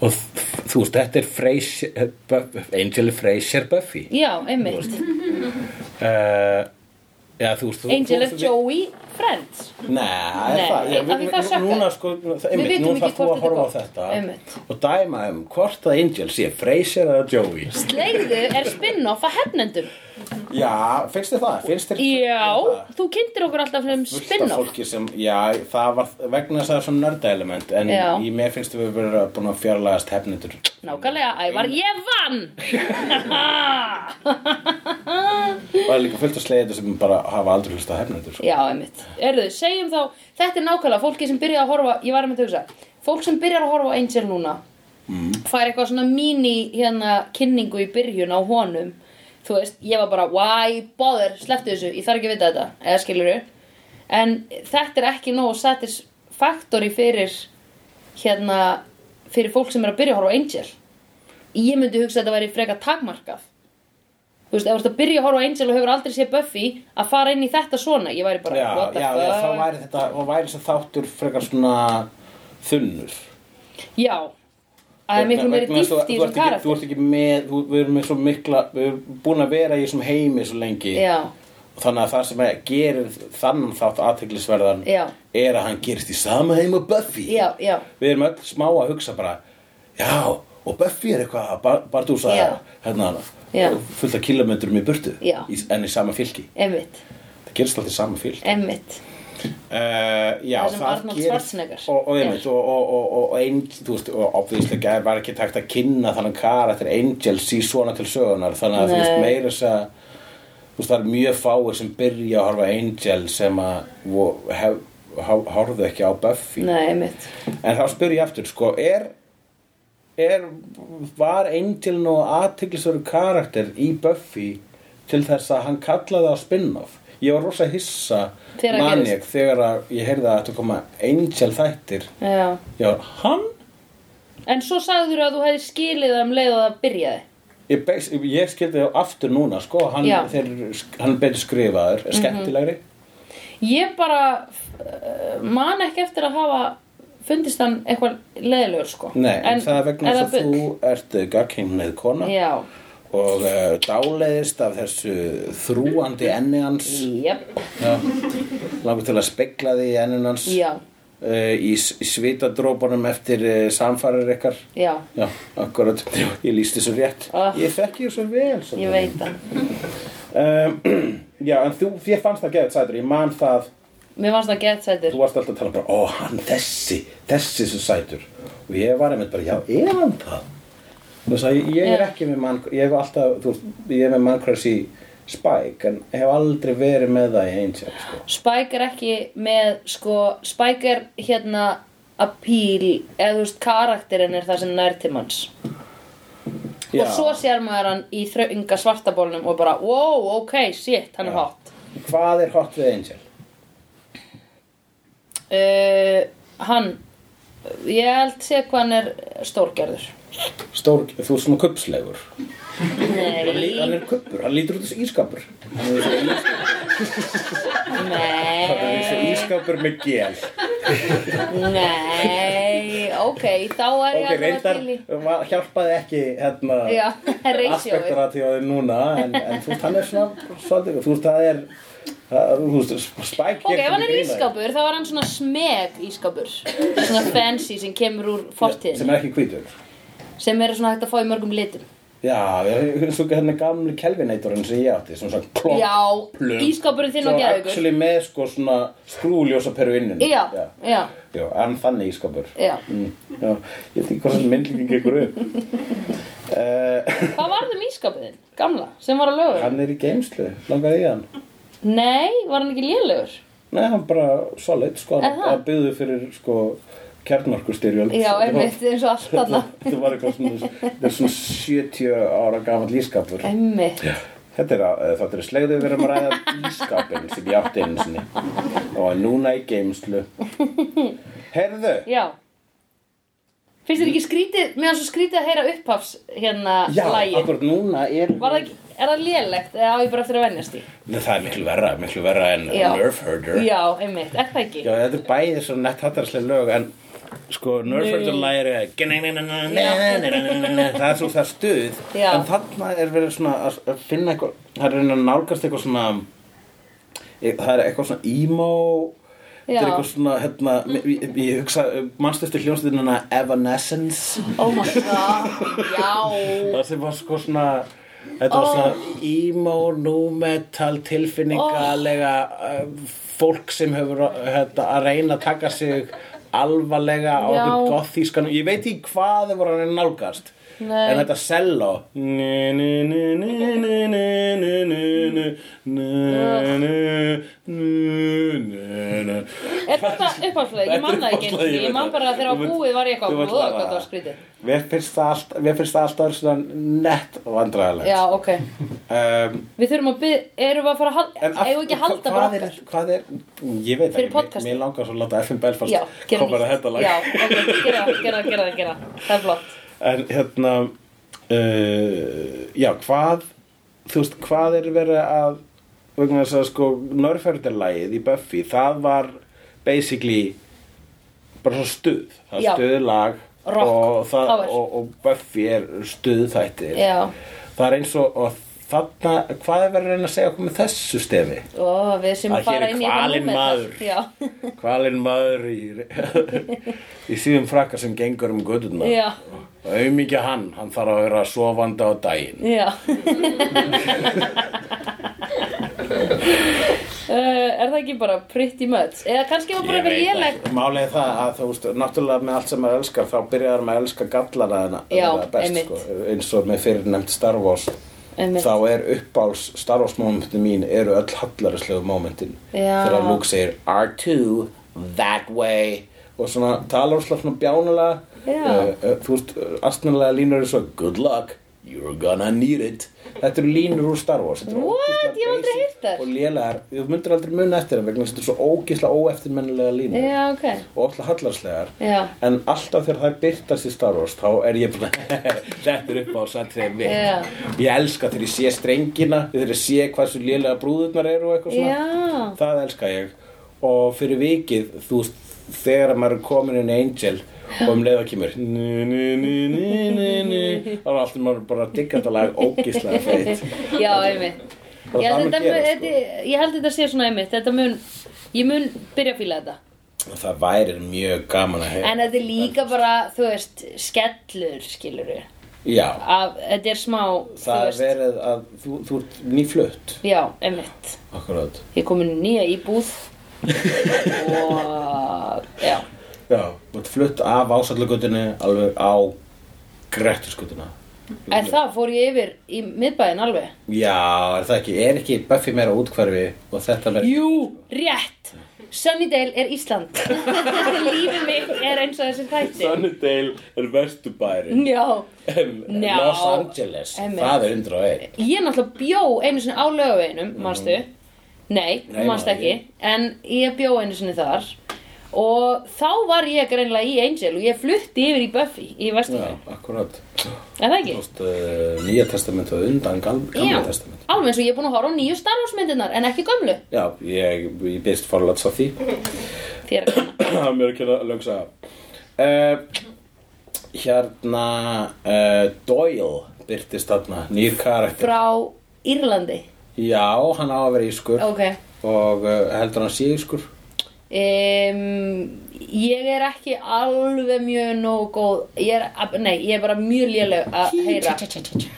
Speaker 3: Og þ- þú veist, þetta er Frasier, Bu- Angel er Frasier Buffy.
Speaker 2: Já, einmitt
Speaker 3: Uh, já, þú veist, þú-
Speaker 2: Angel
Speaker 3: þú-
Speaker 2: of Joey Friends
Speaker 3: Nei, það er
Speaker 2: Nei,
Speaker 3: það, já,
Speaker 2: af því
Speaker 3: við,
Speaker 2: það
Speaker 3: nú-
Speaker 2: sökkar.
Speaker 3: núna sko, það-
Speaker 2: Við
Speaker 3: einmitt,
Speaker 2: vitum
Speaker 3: nú
Speaker 2: ekki hvort
Speaker 3: þarf þú
Speaker 2: þetta er
Speaker 3: að horfa
Speaker 2: gott.
Speaker 3: á þetta
Speaker 2: Einmitt.
Speaker 3: og dæma um hvort að Angel sé Frasier eða Joey.
Speaker 2: Slegðu er spin-off að hefnendum
Speaker 3: Já, finnst þið það? Finnst þið
Speaker 2: Já, þú kynntir okkur alltaf sem
Speaker 3: Fullt af
Speaker 2: spin-off
Speaker 3: fólki sem, já, það var vegna þess að það er svona nörda element en
Speaker 2: Já.
Speaker 3: í mér finnst við verið búin að fjarlægast hefnindur.
Speaker 2: Nákvæmlega, ævar, ég vann
Speaker 3: Og það er líka fullt af slegið sem bara hafa aldrei hlust á hefnindur.
Speaker 2: Já, einmitt Erðu, segjum þá, þetta er nákvæmlega fólki sem byrjaði að horfa Ég var einmitt að hugsa fólk sem byrjar að horfa á Angel núna fær eitthvað svona mini hérna kynningu í byrjun á honum þú veist, ég var bara why bother, slepptu þessu, ég þarf ekki að vita þetta eða skilur en þetta er ekki nóg satisfactory fyrir hérna fyrir fólk sem er að byrja að horfa á Angel ég myndi hugsa að þetta væri freka takmarkað þú veist, ef þú ert að byrja að horfa á Angel og hefur aldrei séð Buffy að fara inn í þetta svona, ég væri bara
Speaker 3: já,
Speaker 2: what the
Speaker 3: já, já,
Speaker 2: fuck?
Speaker 3: þá væri þetta þá væri þessi þáttur frekar svona þunnur
Speaker 2: Já, að það er miklu meiri
Speaker 3: Vegna þess
Speaker 2: dýft í þessum
Speaker 3: að þú ert ekki- þú
Speaker 2: karakter
Speaker 3: ert ekki með þú, við erum með svo mikla við erum búin að vera í þessum heimi svo lengi
Speaker 2: Já,
Speaker 3: og þannig að það sem að gerir þannan þátt aðteglisverðan
Speaker 2: Já.
Speaker 3: er að hann gerist í sama heim og Buffy
Speaker 2: já, já
Speaker 3: við erum öll smá að hugsa bara já, og Buffy er eitthvað að bar, bardúsa
Speaker 2: Já.
Speaker 3: hérna
Speaker 2: Já.
Speaker 3: fullt af kilometrum í burtu
Speaker 2: Já.
Speaker 3: í, en í sama fylki
Speaker 2: Emmitt,
Speaker 3: það gerist alltaf í sama fylki
Speaker 2: emmitt
Speaker 3: Uh, já,
Speaker 2: Það sem Arnold Schwarzenegger
Speaker 3: og, og, einmitt, og, og, og, og, og ein, þú veist, og obvíðislega var ekki takt að kynna þannig karakter Angels í svona til sögunar þannig að þú veist
Speaker 2: Nei.
Speaker 3: meira þess að þú veist það er mjög fáir sem byrja að horfa á Angel sem að vo- hef, haf, horfðu ekki á Buffy
Speaker 2: Nei, emmitt
Speaker 3: en þá spyr ég aftur sko, er, er var Angel nú aðtiklisveru karakter í Buffy til þess að hann kallaði á spin-off ég var rosa hissa
Speaker 2: Þegar það
Speaker 3: man
Speaker 2: gerist.
Speaker 3: ég, þegar að ég heyrði að þetta koma Angel þættir
Speaker 2: Já
Speaker 3: já, hann
Speaker 2: En svo sagður að þú hefði skilið það um leið og það byrjaði
Speaker 3: Ég, beis, ég skildi þá aftur núna sko, hann,
Speaker 2: Já.
Speaker 3: þeir, hann er betur skrifaður er skemmtilegri
Speaker 2: Ég bara uh, man ekki eftir að hafa fundist hann eitthvað leiðilegur sko
Speaker 3: Nei, en, það er vegna
Speaker 2: eða
Speaker 3: þess að
Speaker 2: bull.
Speaker 3: þú ert gagkinnið kona
Speaker 2: Já,
Speaker 3: og uh, dáleiðist af þessu þrúandi enni hans
Speaker 2: jöp,
Speaker 3: langar til að spegla því í ennun hans
Speaker 2: já,
Speaker 3: uh, í, s- í svitadrópunum eftir uh, samfarir ykkar
Speaker 2: já
Speaker 3: já, akkurat, ég líst þessu rétt
Speaker 2: Ah.
Speaker 3: ég þekki þessu vel sem
Speaker 2: Ég veit það
Speaker 3: um, já, en þú, ég fannst það geðið sætur ég man það,
Speaker 2: Mér fannst það gett sætir
Speaker 3: þú varst alltaf að tala um bara ó, hann þessi, þessi sem sætur og ég var einmitt bara, já, er hann það þú veist að ég, ég er
Speaker 2: Já.
Speaker 3: ekki með mann ég hef alltaf, þú veist, ég er með mannkværs í Spike, en hef aldrei verið með það í Angel, sko
Speaker 2: Spike er ekki með sko, Spike er hérna appeal, eða þú veist karakterinn er það sem nær til manns og
Speaker 3: Já.
Speaker 2: svo sér maður hann í þrönga svartabólnum og bara, wow, ok, shit, hann er
Speaker 3: Já.
Speaker 2: hot
Speaker 3: Hvað er hot við Angel?
Speaker 2: uh, hann ég held sé hvað hann er stórgerður
Speaker 3: Stór, þú ert svona kubbslegur
Speaker 2: nei,
Speaker 3: Hann er kubbur, hann lítur út þessu ískapur Hann er þessu ískapur, hann er þessu
Speaker 2: nei
Speaker 3: ískapur með gél
Speaker 2: nei, ok, þá er
Speaker 3: Ok,
Speaker 2: ég
Speaker 3: reyndar
Speaker 2: til í
Speaker 3: var, hjálpaði ekki hérna
Speaker 2: já, ratioið
Speaker 3: aspektaratífaði núna en, en þú veist, hann er svona svolítið, þú veist, það er það- Þú veist, spæk
Speaker 2: Ok, ef hann er ískapur, þá er hann svona smeg ískapur Svona fancy sem kemur úr
Speaker 3: Sem
Speaker 2: fortíðin
Speaker 3: er ekki hvítur
Speaker 2: Sem eru svona hægt að fá í mörgum litum
Speaker 3: Já, ég finnst þú hérna gamli kelvineitorinn sem ég átti Svona svona klokk
Speaker 2: Já, ískapurinn þinn og
Speaker 3: Svo
Speaker 2: geðugur
Speaker 3: actually með sko svona skrúljósa peru inninu
Speaker 2: Já, já,
Speaker 3: Já, en þannig ískapur
Speaker 2: já
Speaker 3: Mm, Já, ég veit ekki hvað sem myndlíkin gekur upp uh,
Speaker 2: Hvað var þeim ískapurinn? Gamla, sem var að lögur
Speaker 3: Hann er í geimslu, langaði í hann
Speaker 2: Nei, var hann ekki lélegur?
Speaker 3: Nei, hann bara solid, sko
Speaker 2: Er
Speaker 3: Hann
Speaker 2: það?
Speaker 3: hann byggði fyrir, sko, kjarnorkustyrjöld
Speaker 2: Já,
Speaker 3: Þetta var-
Speaker 2: einmitt, eins og allt þarna
Speaker 3: Þetta var eitthvað svona, þetta er svona 70 ára gamall lískapur
Speaker 2: Eh. Einmitt
Speaker 3: Þetta er, að- eh, þetta er slegðu við erum að ræða lískapin sem ég átti einu sinni Og er núna í geimslu Herðu
Speaker 2: Já Finnst þér ekki skrítið, mér hann svo skrítið að heyra upphafs hérna
Speaker 3: Já,
Speaker 2: lagi
Speaker 3: akkurat núna er
Speaker 2: Var það ekki, er það lélegt eða á ég bara eftir að venjast því?
Speaker 3: Nei, það er miklu verra, miklu verra en
Speaker 2: Já.
Speaker 3: Nerf Herder
Speaker 2: Já, einmitt, er það ekki?
Speaker 3: Já, þetta er bæði svo nett hattarslega lög en sko, Nerf Herder lægir það er svo það stuð
Speaker 2: Já.
Speaker 3: en þarna er verið svona að að finna eitthvað, það er reyna að nálgast eitthvað svona e, það er eitthvað svona emo
Speaker 2: Já. Mm.
Speaker 3: þetta er eitthvað svona, hérna ég, ég hugsa, manstu eftir hljómsveitinina Evanescence
Speaker 2: Oh my god, já
Speaker 3: það sem var sko svona Þetta var svona emo, nu-metal, tilfinningalega oh. fólk sem hefur þetta, að reyna að taka sig alvarlega á
Speaker 2: Já.
Speaker 3: einhvern gothískan. Ég veit í hvað þau voru að reyna að nálgast.
Speaker 2: Nei.
Speaker 3: en þetta selló Ni, ni, ni, ni, ni, ni, ni, ni, ni, ni, ni, ni, ni, ni.
Speaker 2: Er þetta uppáhaldslega? Ég man það ekki einu sinni. Ég man bara að þegar á búið var ég eitthvað
Speaker 3: Þú
Speaker 2: og
Speaker 3: vilt
Speaker 2: hvað
Speaker 3: hafa
Speaker 2: það var
Speaker 3: það.
Speaker 2: skrítið.
Speaker 3: Mér finnst það allt- mér finnst það alltaf svona nett og
Speaker 2: Já,
Speaker 3: vandræðilegt
Speaker 2: ok.
Speaker 3: um,
Speaker 2: Við þurfum að byrja, erum við að fara að halda,
Speaker 3: En af-
Speaker 2: eigum við ekki að halda
Speaker 3: hvað
Speaker 2: bara
Speaker 3: er-
Speaker 2: okkar?
Speaker 3: Hvað er, ég
Speaker 2: Fyrir
Speaker 3: veit ekki, mér-
Speaker 2: podcastið.
Speaker 3: mér langar svo að láta FM Belfast
Speaker 2: Já, gera
Speaker 3: koma með þetta lag
Speaker 2: Já, ok, gera það, gera það, gera það, gera það. Það er flott.
Speaker 3: En hérna, uh, já, hvað, þú veist, hvað er verið að, vegna þess að sko, Norrferðarlægið í Buffy, það var basically bara svo stuð, það
Speaker 2: Já.
Speaker 3: er stuðlag
Speaker 2: Rock,
Speaker 3: og, það,
Speaker 2: power.
Speaker 3: og, og Buffy er stuðþættir.
Speaker 2: Já,
Speaker 3: Það er eins og, og þarna, hvað er verið að reyna að segja okkur með þessu stefi?
Speaker 2: og við sem
Speaker 3: Að hér
Speaker 2: fara
Speaker 3: er
Speaker 2: inn í eitthvað
Speaker 3: hvalinn
Speaker 2: númer þar.
Speaker 3: maður. Hvalinn maður í, í síðum frakka sem gengur um gödurnar.
Speaker 2: Já,
Speaker 3: Auðmikið hann, hann þarf að vera sofandi á daginn.
Speaker 2: já, já. Uh, er það ekki bara pretty much? Eða kannski var bara
Speaker 1: Ég
Speaker 2: eitthvað
Speaker 1: veit
Speaker 2: léleg
Speaker 3: Málið er það að þú veist, náttúrulega með allt sem maður elskar þá byrjar maður að elska gallara þarna
Speaker 2: Já,
Speaker 3: það er best,
Speaker 2: einmitt.
Speaker 3: sko, eins og með fyrirnefnd Star Wars
Speaker 2: Einmitt.
Speaker 3: þá er uppáls Star Wars momentin mín eru öll hallarislegu momentin
Speaker 2: Já.
Speaker 3: þegar Luke segir R2, that way og svona talar slá svona bjánulega
Speaker 2: Já.
Speaker 3: uh, þú veist, astnulega línur eru svo good luck, you're gonna need it þetta eru línur úr Star Wars Þetta eru
Speaker 2: What?
Speaker 3: ógeðslega
Speaker 2: Ég hef aldrei
Speaker 3: basic
Speaker 2: heyrt þær.
Speaker 3: og lélegar, þú myndir aldrei muna eftir þeim vegna þess að þetta eru svo ógislega óeftirmennilega línur
Speaker 2: Já, ok.
Speaker 3: og alltaf hallarslegar
Speaker 2: Já.
Speaker 3: en alltaf þegar það byrtast í Star Wars þá er ég bara þetta er upp á sattriðið mitt
Speaker 2: Já.
Speaker 3: ég elska þegar ég sé strengina þegar ég sé hversu lélega brúðurnar eru og eitthvað svona
Speaker 2: Já.
Speaker 3: það elska ég og fyrir vikið þú veist þegar maður er komin inn í Angel og um leiða kemur nu, nu, nu, nu, nu, nu, þá er alltaf maður bara diggandalag ógislega feitt
Speaker 2: Já, einmitt
Speaker 3: Það
Speaker 2: Ég held,
Speaker 3: þarf að
Speaker 2: þetta,
Speaker 3: gera,
Speaker 2: mun-
Speaker 3: sko.
Speaker 2: þetta, ég held þetta sé svona einmitt Þetta mun, ég mun byrja að fíla þetta
Speaker 3: sko. það væri mjög gaman að
Speaker 2: En
Speaker 3: heyra
Speaker 2: þetta er líka bara, þú veist, skellur skilur við
Speaker 3: já,
Speaker 2: Þetta er smá, þú
Speaker 3: það er
Speaker 2: veist
Speaker 3: verið að þú, þú ert nýflutt
Speaker 2: Já, einmitt
Speaker 3: akkurat
Speaker 2: Ég er komin í nýja íbúð Og, já
Speaker 3: Já, þú ert flutt af ásallagutinu alveg á Grettuskutuna.
Speaker 2: En það fór ég yfir í miðbæðin alveg
Speaker 3: Já, er það ekki, er ekki Buffy meira útkvarfi og þetta verður...
Speaker 2: Jú, rétt Sunnydale er Ísland Lífið mitt er eins og þessi þætti
Speaker 3: Sunnydale er vestubæri.
Speaker 2: Já,
Speaker 3: En
Speaker 2: Já.
Speaker 3: Los Angeles,
Speaker 2: Einmitt.
Speaker 3: það er 101.
Speaker 2: Ég náttúrulega bjó einu sinni á lögaveginum, manstu? Nei,
Speaker 3: Nei,
Speaker 2: manstu
Speaker 3: maður,
Speaker 2: ekki. En ég bjó einu sinni þar. Og þá var ég greinlega í Angel og ég flutti yfir í Buffy í
Speaker 3: Já,
Speaker 2: Vesturfjörn.
Speaker 3: akkurat.
Speaker 2: Er það ekki?
Speaker 3: Þú veist, uh, nýja testamentu og undan gal,
Speaker 2: Já,
Speaker 3: gamla testamentu.
Speaker 2: alveg eins og ég er búin að horfa á nýju Star Wars myndirnar en ekki gömlu.
Speaker 3: Já, ég, ég byrst forlats á því.
Speaker 2: Þér er kannan.
Speaker 3: Mér er ekki að lögsa. Uh, hérna, uh, Doyle byrtist þarna, nýr karakter.
Speaker 2: Frá Írlandi.
Speaker 3: Já, hann á að vera ískur.
Speaker 2: Ok.
Speaker 3: og uh, heldur hann sé ískur
Speaker 2: Um, ég er ekki alveg mjög nóg góð. Ég er, ab- nei, ég er bara mjög léleg að heyra.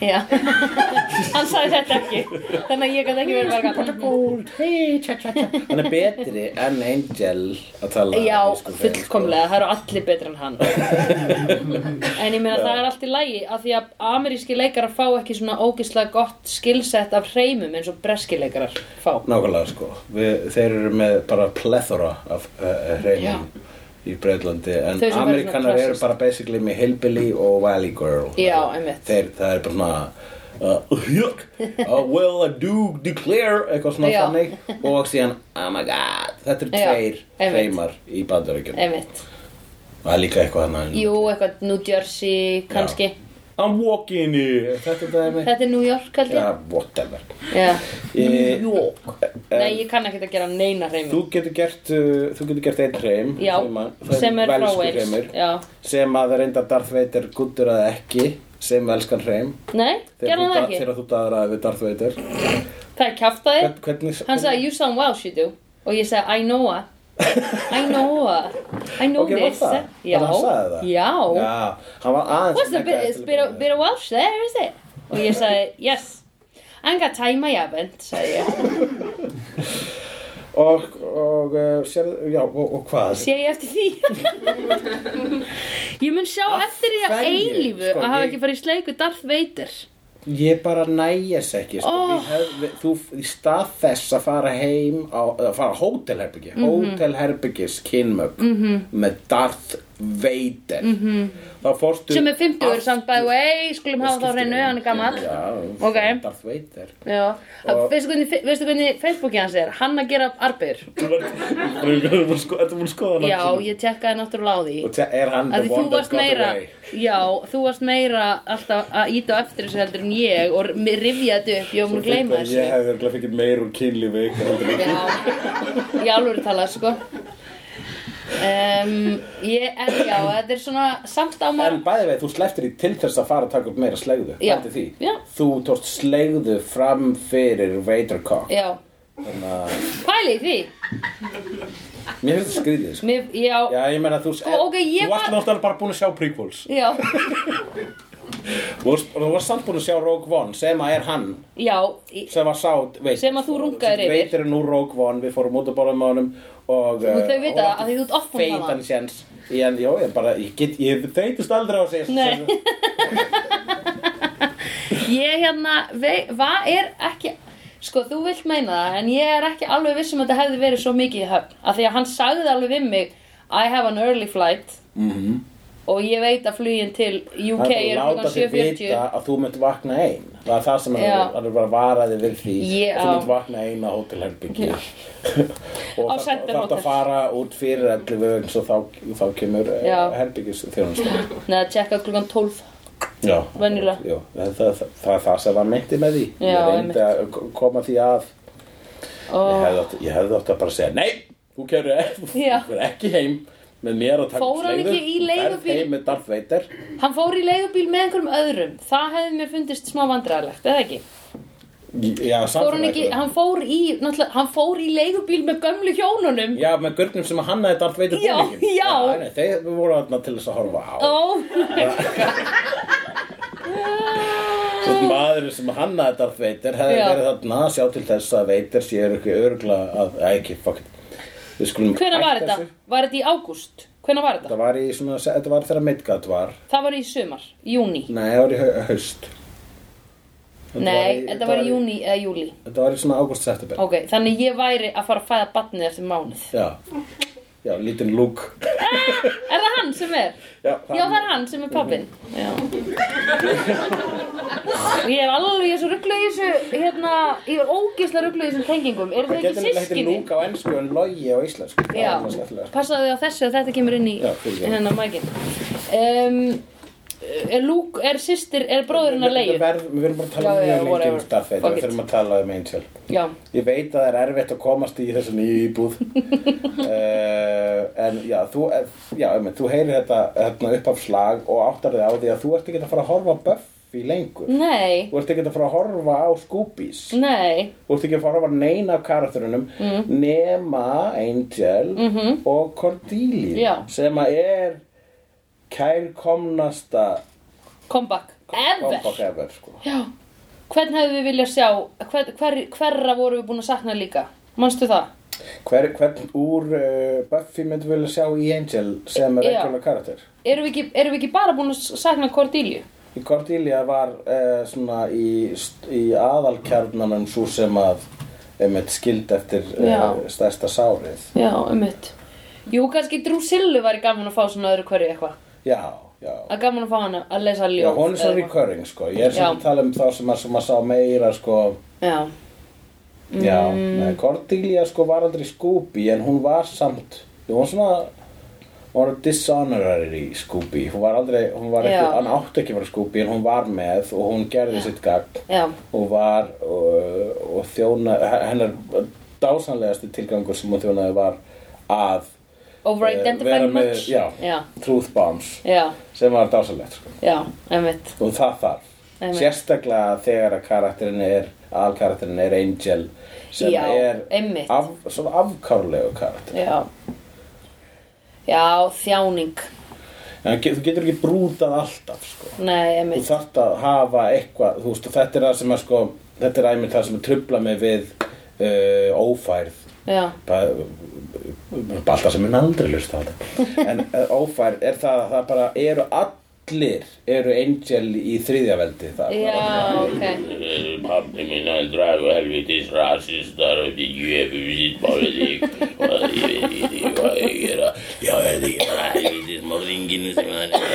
Speaker 2: Já, hann sagði þetta ekki Þannig að ég gæti ekki verið bara eitthvað,
Speaker 3: hann er betri en Angel að tala
Speaker 2: Já,
Speaker 3: írsku þegar,
Speaker 2: fullkomlega, það eru allir betri en hann En ég meina það er allt í lagi af því að ameríski leikarar fá ekki svona ógislega gott skilsett af hreimum eins og breski leikarar fá
Speaker 3: sko. nákvæmlega sko Við, þeir eru með bara plethora af uh, reynum í Breitlandi en
Speaker 2: Þau sem bara
Speaker 3: Amerikanar
Speaker 2: svona
Speaker 3: eru
Speaker 2: klassist.
Speaker 3: bara basically með Hillbilly og Valley Girl
Speaker 2: Já, einmitt.
Speaker 3: þeir, það er bara svona Uh, yuck, uh, well I do declare eitthvað svona
Speaker 2: Já.
Speaker 3: þannig og síðan oh my god, þetta eru
Speaker 2: Já,
Speaker 3: tveir
Speaker 2: einmitt.
Speaker 3: hreimar í bandaríkjum
Speaker 2: Einmitt,
Speaker 3: og það er líka eitthvað hann
Speaker 2: jú, eitthvað New Jersey kannski
Speaker 3: I'm walking here þetta er dæmi
Speaker 2: Þetta er New York held ég
Speaker 3: Já, whatever
Speaker 2: Já.
Speaker 3: Ég-
Speaker 2: Nei, ég kann ekki að gera neina hreimum
Speaker 3: Eh, Þú getur gert, uh, þú getur gert einn hreim
Speaker 2: Já, sem er frá
Speaker 3: velskur
Speaker 2: Wales
Speaker 3: hreimur,
Speaker 2: Já.
Speaker 3: Sem að reynda Darth Vader guttur að ekki Sem elskan hreim
Speaker 2: Nei,
Speaker 3: Þegar
Speaker 2: gerði
Speaker 3: þú
Speaker 2: hann það
Speaker 3: da-
Speaker 2: ekki
Speaker 3: Þegar þú daðraði við Darth Vader
Speaker 2: Það er kjaftaði
Speaker 3: Hvern- Hvernig
Speaker 2: Hann sagði, you sound Welsh you do Og ég sagði, I know her I know her I know
Speaker 3: Ok, var
Speaker 2: this
Speaker 3: það?
Speaker 2: Já,
Speaker 3: Þannig að hann sagði það?
Speaker 2: já
Speaker 3: Já, hann var aðeins
Speaker 2: What's a
Speaker 3: að
Speaker 2: bit, it's
Speaker 3: nekka
Speaker 2: a
Speaker 3: til
Speaker 2: bit,
Speaker 3: að
Speaker 2: of, bit of Welsh there, is it? Og ég sagði, yes I ain't got time I haven't, sagði ég
Speaker 3: byrja. og, og, uh, sér, já, og, og hvað
Speaker 2: sé ég eftir því ég mun sjá eftir því að
Speaker 3: hverju?
Speaker 2: eilífu
Speaker 3: Sko,
Speaker 2: að hafa
Speaker 3: ég-
Speaker 2: ekki farið í sleik við Darth Vader
Speaker 3: ég bara nægis ekki sko.
Speaker 2: Oh.
Speaker 3: oh. hef, við, þú í stað þess að fara heim á, að fara á hótelherbyggi
Speaker 2: Mhm.
Speaker 3: mm hótelherbyggis kynmögg -hmm. með Darth Vader -hmm. þá fórstu
Speaker 2: Mhm. sem er 50
Speaker 3: aftur-
Speaker 2: samt by the way skulum hafa þá
Speaker 3: Skiptir
Speaker 2: reynu,
Speaker 3: engu.
Speaker 2: hann er gammal
Speaker 3: já,
Speaker 2: Ok.
Speaker 3: Darth Vader
Speaker 2: Já,
Speaker 3: Og-
Speaker 2: veistu hvernig, veistu hvernig Facebooki hans er? Hann að gera arbeir
Speaker 3: Ertu búin að skoða
Speaker 2: Já, ég tekkaði náttúrulega á því
Speaker 3: Og te- er
Speaker 2: Af
Speaker 3: hann the
Speaker 2: því þú
Speaker 3: one that
Speaker 2: varst
Speaker 3: got
Speaker 2: meira
Speaker 3: away
Speaker 2: Já, þú varst meira alltaf að íta á eftir þessu heldur en ég og mi- rifja þetta upp, ég var múin að gleyma þessu
Speaker 3: Ég hefði örugglega fengið meir úr kynlífi heldur en-
Speaker 2: Já, í alvöru talað sko um, ég, En já, þetta er svona samt á
Speaker 3: En
Speaker 2: maður
Speaker 3: bæði veið, þú slepptir í til þess að fara að taka upp meira slegðu
Speaker 2: Já.
Speaker 3: Bæti því
Speaker 2: Já.
Speaker 3: Þú tókst slegðu fram fyrir Vadercock
Speaker 2: Já,
Speaker 3: Þannig að
Speaker 2: pæli í því
Speaker 3: Mér finnst það skrýðið sko.
Speaker 2: Mér, Já,
Speaker 3: Já, ég meina þú
Speaker 2: Sko, ok, ég
Speaker 3: Þú varst
Speaker 2: var-
Speaker 3: náttúrulega bara búin að sjá prequels
Speaker 2: já,
Speaker 3: Þú varst, og þú varst samt búin að sjá Rogue One sem að er hann
Speaker 2: já í-
Speaker 3: sem var sátt veit,
Speaker 2: Sem að þú rungaðir yfir.
Speaker 3: Veitir er nú Rogue One, við fórum út að borða með honum og
Speaker 2: Og þau
Speaker 3: uh,
Speaker 2: vita
Speaker 3: og
Speaker 2: það, af því þú ert oft búin að um hafa
Speaker 3: feitan
Speaker 2: hann.
Speaker 3: séns í en, jó, ég bara, ég get, ég þeytist aldrei á sér
Speaker 2: Nei. Ég hérna, vei- hvað er ekki Sko, þú vilt meina það, en ég er ekki alveg viss um að þetta hefði verið svo mikið í höfn Af því að hann sagði alveg við mig I have an early flight -hmm. Og ég veit að flugin til UK er
Speaker 3: að
Speaker 2: klokkan
Speaker 3: Mhm. láta þig
Speaker 2: 7.40
Speaker 3: vita að þú mynd vakna ein það er það sem hann
Speaker 2: Já.
Speaker 3: er- hann er bara varaði við því
Speaker 2: Ég-
Speaker 3: að þú
Speaker 2: á.
Speaker 3: mynd vakna ein á hótelherbyggi og
Speaker 2: Á
Speaker 3: þarf-
Speaker 2: Center
Speaker 3: þarf
Speaker 2: Hotel.
Speaker 3: að fara út fyrir allir vögn svo þá, þá kemur eh,
Speaker 2: Já.
Speaker 3: herbyggis þjónust
Speaker 2: Nei, að tjekka klukkan 12
Speaker 3: Já,
Speaker 2: Venjulega.
Speaker 3: já, það, það, það, það er það sem var myndi með því
Speaker 2: Já,
Speaker 3: Ég reyndi að k- koma því að Ég
Speaker 2: Og
Speaker 3: hefði átt, ég hefði átt að bara segja Nei, þú kerur
Speaker 2: Já.
Speaker 3: ekki heim með mér að taka
Speaker 2: Fór hann
Speaker 3: sleigur.
Speaker 2: ekki í
Speaker 3: Þú ferð
Speaker 2: leigubíl?
Speaker 3: heim með Darth Vader
Speaker 2: hann fór í leigubíl með einhverjum öðrum Það hefði mér fundist smá vandræðalegt, eða ekki?
Speaker 3: Já,
Speaker 2: Fór hann, ekki,
Speaker 3: samfélagið
Speaker 2: hann fór í, náttúrulega, hann fór í leigubíl með gömlu hjónunum
Speaker 3: Já, með gurnum sem að hannaði Darth Vader
Speaker 2: Já,
Speaker 3: búninginn.
Speaker 2: já.
Speaker 3: nei, Þeir voru þarna til þess að horfa á
Speaker 2: Oh my
Speaker 3: Svo
Speaker 2: god
Speaker 3: maðurinn sem hannaði Darth Vader hefði
Speaker 2: Já.
Speaker 3: verið þarna að sjá til þess að Vader sé ekki örgla að, að ekki, fuck it Við skulum
Speaker 2: Hvenær var
Speaker 3: hætta
Speaker 2: þetta?
Speaker 3: þessu.
Speaker 2: Var þetta í ágúst? Hvenær var þetta?
Speaker 3: Þetta var í svona, þetta var þegar Midgard var
Speaker 2: Það var í sumar, júni
Speaker 3: Nei, það var í hau- haust Þetta var
Speaker 2: Nei, þetta var í júni eða júli
Speaker 3: Þetta var í svona ágúst september
Speaker 2: Ok, þannig ég væri að fara að fæða batnið eftir mánuð
Speaker 3: Já, já, lítinn lúk
Speaker 2: Er það hann sem er?
Speaker 3: Já,
Speaker 2: Já, það er hann sem er pappinn Já Ég er alveg, ég er svo ruggluð í þessu hérna, ég er ógislega ruggluð í þessum tengingum Eru
Speaker 3: Það
Speaker 2: þau
Speaker 3: getur
Speaker 2: ekki
Speaker 3: nefnilega heitir
Speaker 2: sískinni?
Speaker 3: lúk á ennsku en logi á íslensku Það er
Speaker 2: Já,
Speaker 3: svona skemmtilega.
Speaker 2: passaðu á þessu að þetta kemur inn í
Speaker 3: Já, fyrirgefðu.
Speaker 2: hennar mækin um, Er Luke, er systir, er bróðurinn að
Speaker 3: Við-
Speaker 2: leiðu?
Speaker 3: Við verð- við verðum bara að tala
Speaker 2: Já, já,
Speaker 3: mjög lengi um
Speaker 2: whatever.
Speaker 3: Darth Vader
Speaker 2: Fuck
Speaker 3: Við
Speaker 2: it.
Speaker 3: þurfum að tala um Angel
Speaker 2: Já,
Speaker 3: Ég veit að það er erfitt að komast í þessu nýju íbúð uh, En já, þú, já, um, þú heyrir þetta, hérna, þetta uppafslag og áttar þig á því að þú ert ekki að fara að horfa á Buffy
Speaker 2: Mm.
Speaker 3: lengur
Speaker 2: nei,
Speaker 3: Þú ert ekki að fara að horfa á Scoobies
Speaker 2: nei
Speaker 3: Þú ert ekki að fara að horfa á neina af karakterunum
Speaker 2: Mm.
Speaker 3: nema Angel -hmm. og Cordelia
Speaker 2: Mhm. Já.
Speaker 3: sem að er kærkomnasta
Speaker 2: Comeback, ever
Speaker 3: comeback ever sko.
Speaker 2: Já, hvern hefðu við viljað sjá hver, hver, Hverra voru við búin að sakna líka? Manstu það?
Speaker 3: Hver, hvern úr uh, Buffy myndum vilja sjá í Angel sem er
Speaker 2: Já.
Speaker 3: regular karakter?
Speaker 2: Erum við ekki, erum við ekki bara búin að sakna Cordelia?
Speaker 3: Í Cordelia var uh, svona í, st- í aðalkjarnanum svo sem að einmitt skild eftir
Speaker 2: Já.
Speaker 3: uh, stærsta sárið.
Speaker 2: Já, ummitt Jú, kannski Drusillu væri gaman að fá svona öðru hverju eitthvað
Speaker 3: Já, já.
Speaker 2: Að gaman að fá hana að lesa
Speaker 3: Já,
Speaker 2: ljóð
Speaker 3: hún er svo
Speaker 2: eða eitthvað.
Speaker 3: recurring sko. Ég er
Speaker 2: Já.
Speaker 3: svona að tala um þá sem að, sem að sá meira sko.
Speaker 2: Já,
Speaker 3: Já, mm. Cordelia sko var aldrei Scooby en hún var samt, hún var svona, hún var dishonorary Scooby. Hún var aldrei, hún var ekki,
Speaker 2: Já.
Speaker 3: hann átti ekki að vera Scooby en hún var með og hún gerði sitt gagn.
Speaker 2: já
Speaker 3: og var og, og þjóna hennar dásanlegasti tilgangur sem hún þjónaði var að
Speaker 2: Over-identify
Speaker 3: vera með-
Speaker 2: much?
Speaker 3: já.
Speaker 2: já,
Speaker 3: truth bombs
Speaker 2: já,
Speaker 3: sem var dásanlegt sko.
Speaker 2: já, einmitt
Speaker 3: og það þarf
Speaker 2: Einmitt.
Speaker 3: sérstaklega þegar að karakterin er aðalkarakterin er Angel sem
Speaker 2: Já,
Speaker 3: er
Speaker 2: einmitt.
Speaker 3: af, svona afkárlegu karakter
Speaker 2: Já, já þjáning
Speaker 3: en get, þú getur ekki brútað alltaf sko.
Speaker 2: Nei,
Speaker 3: þú
Speaker 2: einmitt
Speaker 3: þarft að hafa eitthvað þú veist, og þetta er það sem að sko, þetta er æmið það sem að trubla mig við uh, ófærð
Speaker 2: já,
Speaker 3: bara, Balta sem mun aldrei hlusta á þetta en eh, ófær er það að það bara eru allir eru angel í þriðja veldi það er bara-
Speaker 2: já, ok
Speaker 5: Pappi minn hann dragu helvitis rasistar og því gjöfum sín politík og ég veit ekki því hvað ég gera Já, er því ekki bara helvitis morðinginu sem hann er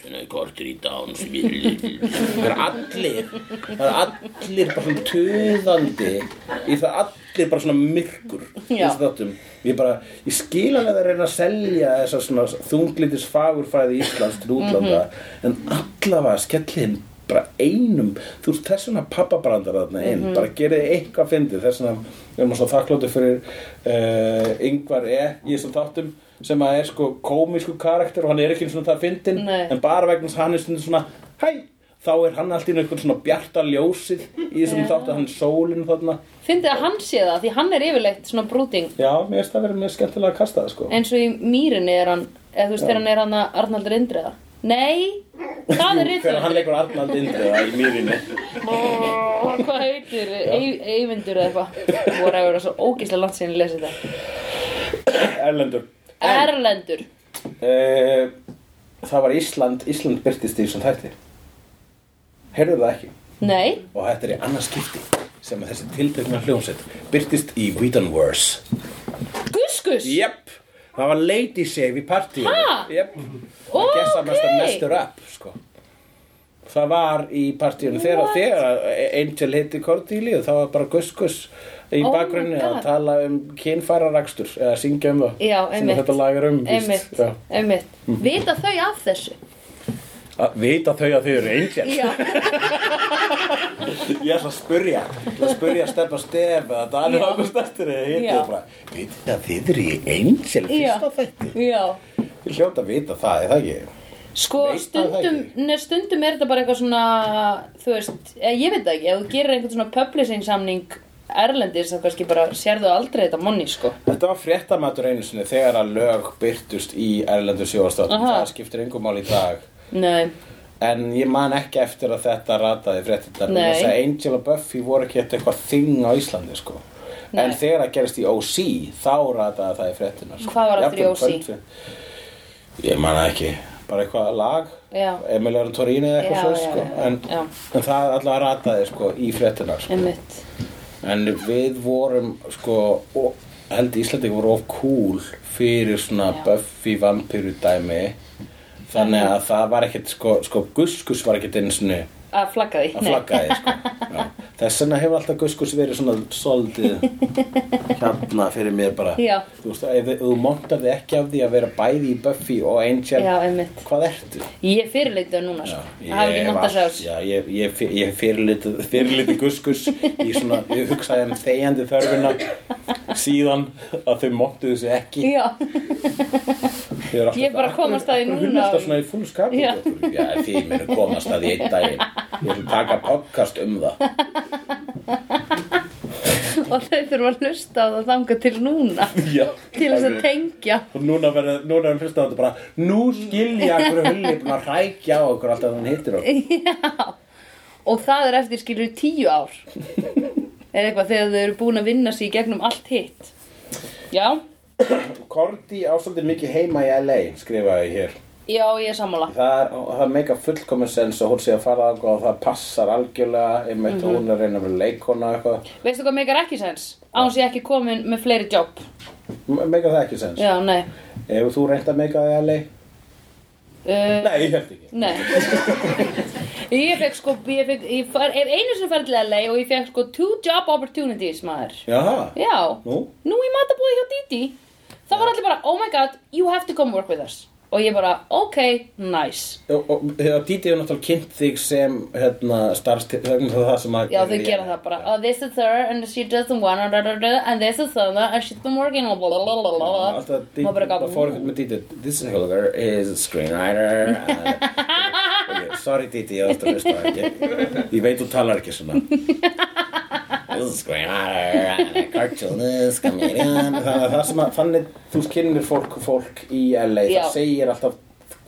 Speaker 5: svona kortur í dán sem ég
Speaker 3: það eru allir það eru allir bara svona töðandi í það allir bara svona myrkur í
Speaker 2: Já.
Speaker 3: þessu þáttum ég bara, ég skil alveg að það reyna að selja þessa svona þunglitis fagurfræði Íslands til útlanda en allavega skellin bara einum, þú veist þess vegna pappabrandar þarna inn, bara gerði eitthvað fyndið, þess vegna er maður svo þakkláttur fyrir uh, yngvar E í þessum þáttum sem að er sko komísku karakter og hann er ekki eins og það fyndin
Speaker 2: Nei.
Speaker 3: en bara vegna þess að hann er stundum svona hæ, þá er hann alltaf einhvern svona bjarta ljósið í þessum
Speaker 2: Já.
Speaker 3: þáttu hann er sólin þarna
Speaker 2: Fyndið að hann sé það, því hann er yfirleitt svona brúting
Speaker 3: já, mér finnst það verið mjög skemmtilega að kasta það sko
Speaker 2: eins og í mýrinni er hann eða þú veist, þegar hann er hann að Arnaldur Indriða Nei, það er
Speaker 3: þegar hann
Speaker 2: rítur
Speaker 3: leikur Arnald Indriða í mýrinni
Speaker 2: Hvað heitir, Ey- Eyvindur eða eitthvað voru að vera svo ógeðslega langt síðan ég lesi þetta
Speaker 3: Erlendur
Speaker 2: Erlendur
Speaker 3: uh, það var Ísland Ísland byrtist í þessum þætti heyrðu það ekki
Speaker 2: Nei,
Speaker 3: og þetta er í annars skipti sem að þessi tiltökna hljómsett byrtist í Whedon Wars
Speaker 2: Guskus
Speaker 3: Jep, það var Lady Shave í partíu
Speaker 2: Ha?
Speaker 3: Jep, það
Speaker 2: Ókei.
Speaker 3: gesa mest að mestur upp sko. Það var í partíunum þegar,
Speaker 2: What?
Speaker 3: þegar Angel hitti Cordelia þá var bara gus-gus í
Speaker 2: Oh
Speaker 3: oh
Speaker 2: my
Speaker 3: að
Speaker 2: God.
Speaker 3: tala um kynfærarakstur eða syngja um það
Speaker 2: Já,
Speaker 3: sem
Speaker 2: einmitt.
Speaker 3: þetta lagar um víst.
Speaker 2: Einmitt,
Speaker 3: Já. Mhm.
Speaker 2: einmitt Vita þau af þessu?
Speaker 3: Að Vita þau að þau eru Angel
Speaker 2: Já,
Speaker 3: Ég ætla að spurja Ég ætla að spurja að stefna stef eða Daniel
Speaker 2: Já.
Speaker 3: August eftir eða hitti
Speaker 2: Já.
Speaker 3: þau bara Vitið þið að þið eru í Angel
Speaker 2: Já.
Speaker 3: fyrsta þætti
Speaker 2: já
Speaker 3: Ég hljóta að vita það, er það ekki?
Speaker 2: Sko,
Speaker 3: Veit maður það
Speaker 2: stundum,
Speaker 3: ekki?
Speaker 2: nei, stundum er þetta bara eitthvað svona, þú veist, eða ég veit það ekki, ef þú gerir einhvern svona publishing samning erlendis, þá kannski bara sérðu aldrei þetta monni, sko.
Speaker 3: Þetta var fréttamatur einu sinni þegar að lög byrtust í Erlendur sjóðarstáttum.
Speaker 2: Aha.
Speaker 3: Það skiptir engum mál í dag.
Speaker 2: Nei,
Speaker 3: En ég man ekki eftir að þetta rataði fréttinnar.
Speaker 2: Nei.
Speaker 3: Þess að Angel og Buffy voru ekki eitthvað þing á Íslandi, sko. En
Speaker 2: Nei.
Speaker 3: þegar það gerist í OC, þá rataði það í fréttinnar. Sko.
Speaker 2: Hvað var aftur í
Speaker 3: Jafnvel
Speaker 2: OC?
Speaker 3: kvöldfrétt- Ég man það ekki. Bara eitthvað lag.
Speaker 2: Já.
Speaker 3: Emil Aron Torino eða eitthvað
Speaker 2: Já,
Speaker 3: svo,
Speaker 2: já,
Speaker 3: sko.
Speaker 2: já, já.
Speaker 3: En,
Speaker 2: Já.
Speaker 3: en það alltaf rataði, sko, í fréttinnar, sko.
Speaker 2: einmitt.
Speaker 3: En við vorum sko, ó- held Íslandingar voru of cool fyrir svona
Speaker 2: Já.
Speaker 3: Buffy vampiru dæmi Þannig að það var ekkert, sko, sko guskus var ekkert einu sinni
Speaker 2: Að flagga því,
Speaker 3: að flagga því, sko. Já. Þess vegna hefur alltaf guskus verið svona soldið hérna fyrir mér bara.
Speaker 2: Já.
Speaker 3: Þú veist, ef þið- þú montar þið ekki af því að vera bæði í Buffy og Angel,
Speaker 2: Já, einmitt.
Speaker 3: hvað ertu?
Speaker 2: Ég fyrirleita núna, sko. Það hafi ekki
Speaker 3: ég
Speaker 2: mátt að
Speaker 3: var-
Speaker 2: sjá. sko.
Speaker 3: Já, ég, ég, fyr- ég fyrirliti, fyrirliti guskus í svona, ég hugsaði um þegjandi þörfina síðan að þau móttu þessu ekki
Speaker 2: Já,
Speaker 3: Þau eru alltaf-
Speaker 2: Ég bara komast að því
Speaker 3: Akkur- akkur
Speaker 2: núna.
Speaker 3: hún er alltaf svona í full skapi
Speaker 2: Já.
Speaker 3: já. já, þið munu komast að því einn daginn Ég vil taka podcast um það
Speaker 2: og þau þurfa að hlusta á það þanga til núna,
Speaker 3: Já,
Speaker 2: til þess að
Speaker 3: alveg.
Speaker 2: tengja.
Speaker 3: Og núna verður núna verður fyrst að þetta bara Nú skilja okkur hulli búin að hrækja á okkur alltaf hann hittir okkur
Speaker 2: Og það er eftir skilur tíu ár. Eða eitthvað þegar þau eru búin að vinna sig í gegnum allt hitt. Já,
Speaker 3: Korti ástandið mikið heima í LA skrifaði ég hér
Speaker 2: já, ég er sammála.
Speaker 3: það, er- og það meika fullkomun sens og hún sé að fara þangað og það passar algjörlega einmitt
Speaker 2: Mhm.
Speaker 3: og hún er að reyna að vera leikona og eitthvað
Speaker 2: Veistu hvað meikar ekki sens? Án ég ekki komin með fleiri jobb.
Speaker 3: Me- meika það ekki sens
Speaker 2: Já, nei.
Speaker 3: hefur þú reynt að meika það í LA?
Speaker 2: Uh,
Speaker 3: nei, ég held ekki
Speaker 2: nei. ég fekk sko, ég fekk, ég far, er einu sem farið til LA og ég fekk sko two job opportunities, maður.
Speaker 3: Jaha,
Speaker 2: Já.
Speaker 3: Nú?
Speaker 2: Nú í matabóði hjá Didi. Það var allir bara, oh my god, you have to come work with us. Og ég bara, ok, nice.
Speaker 3: og, og þegar Díti hefur náttúrulega kynnt þig sem hérna, starfstil vegna það sem að
Speaker 2: Já, þau gera það bara, oh, this is her and she doesn't want her, da, da, da, and this is her and she's been working, blah, blah, blah, blah, blah.
Speaker 3: Alltaf
Speaker 2: Maður bara
Speaker 3: Díti,
Speaker 2: gat-
Speaker 3: það fór ekkert með Díti This Holger is a screenwriter uh, okay, Sorry Díti, ég ætti að hlusta á ekki Ég veit þú talar ekki svona This is a screenwriter and a cartoonist comedian Það er það sem að þannig þú kynir fólk fólk í LA
Speaker 2: Já. Mhm.
Speaker 3: Það segir alltaf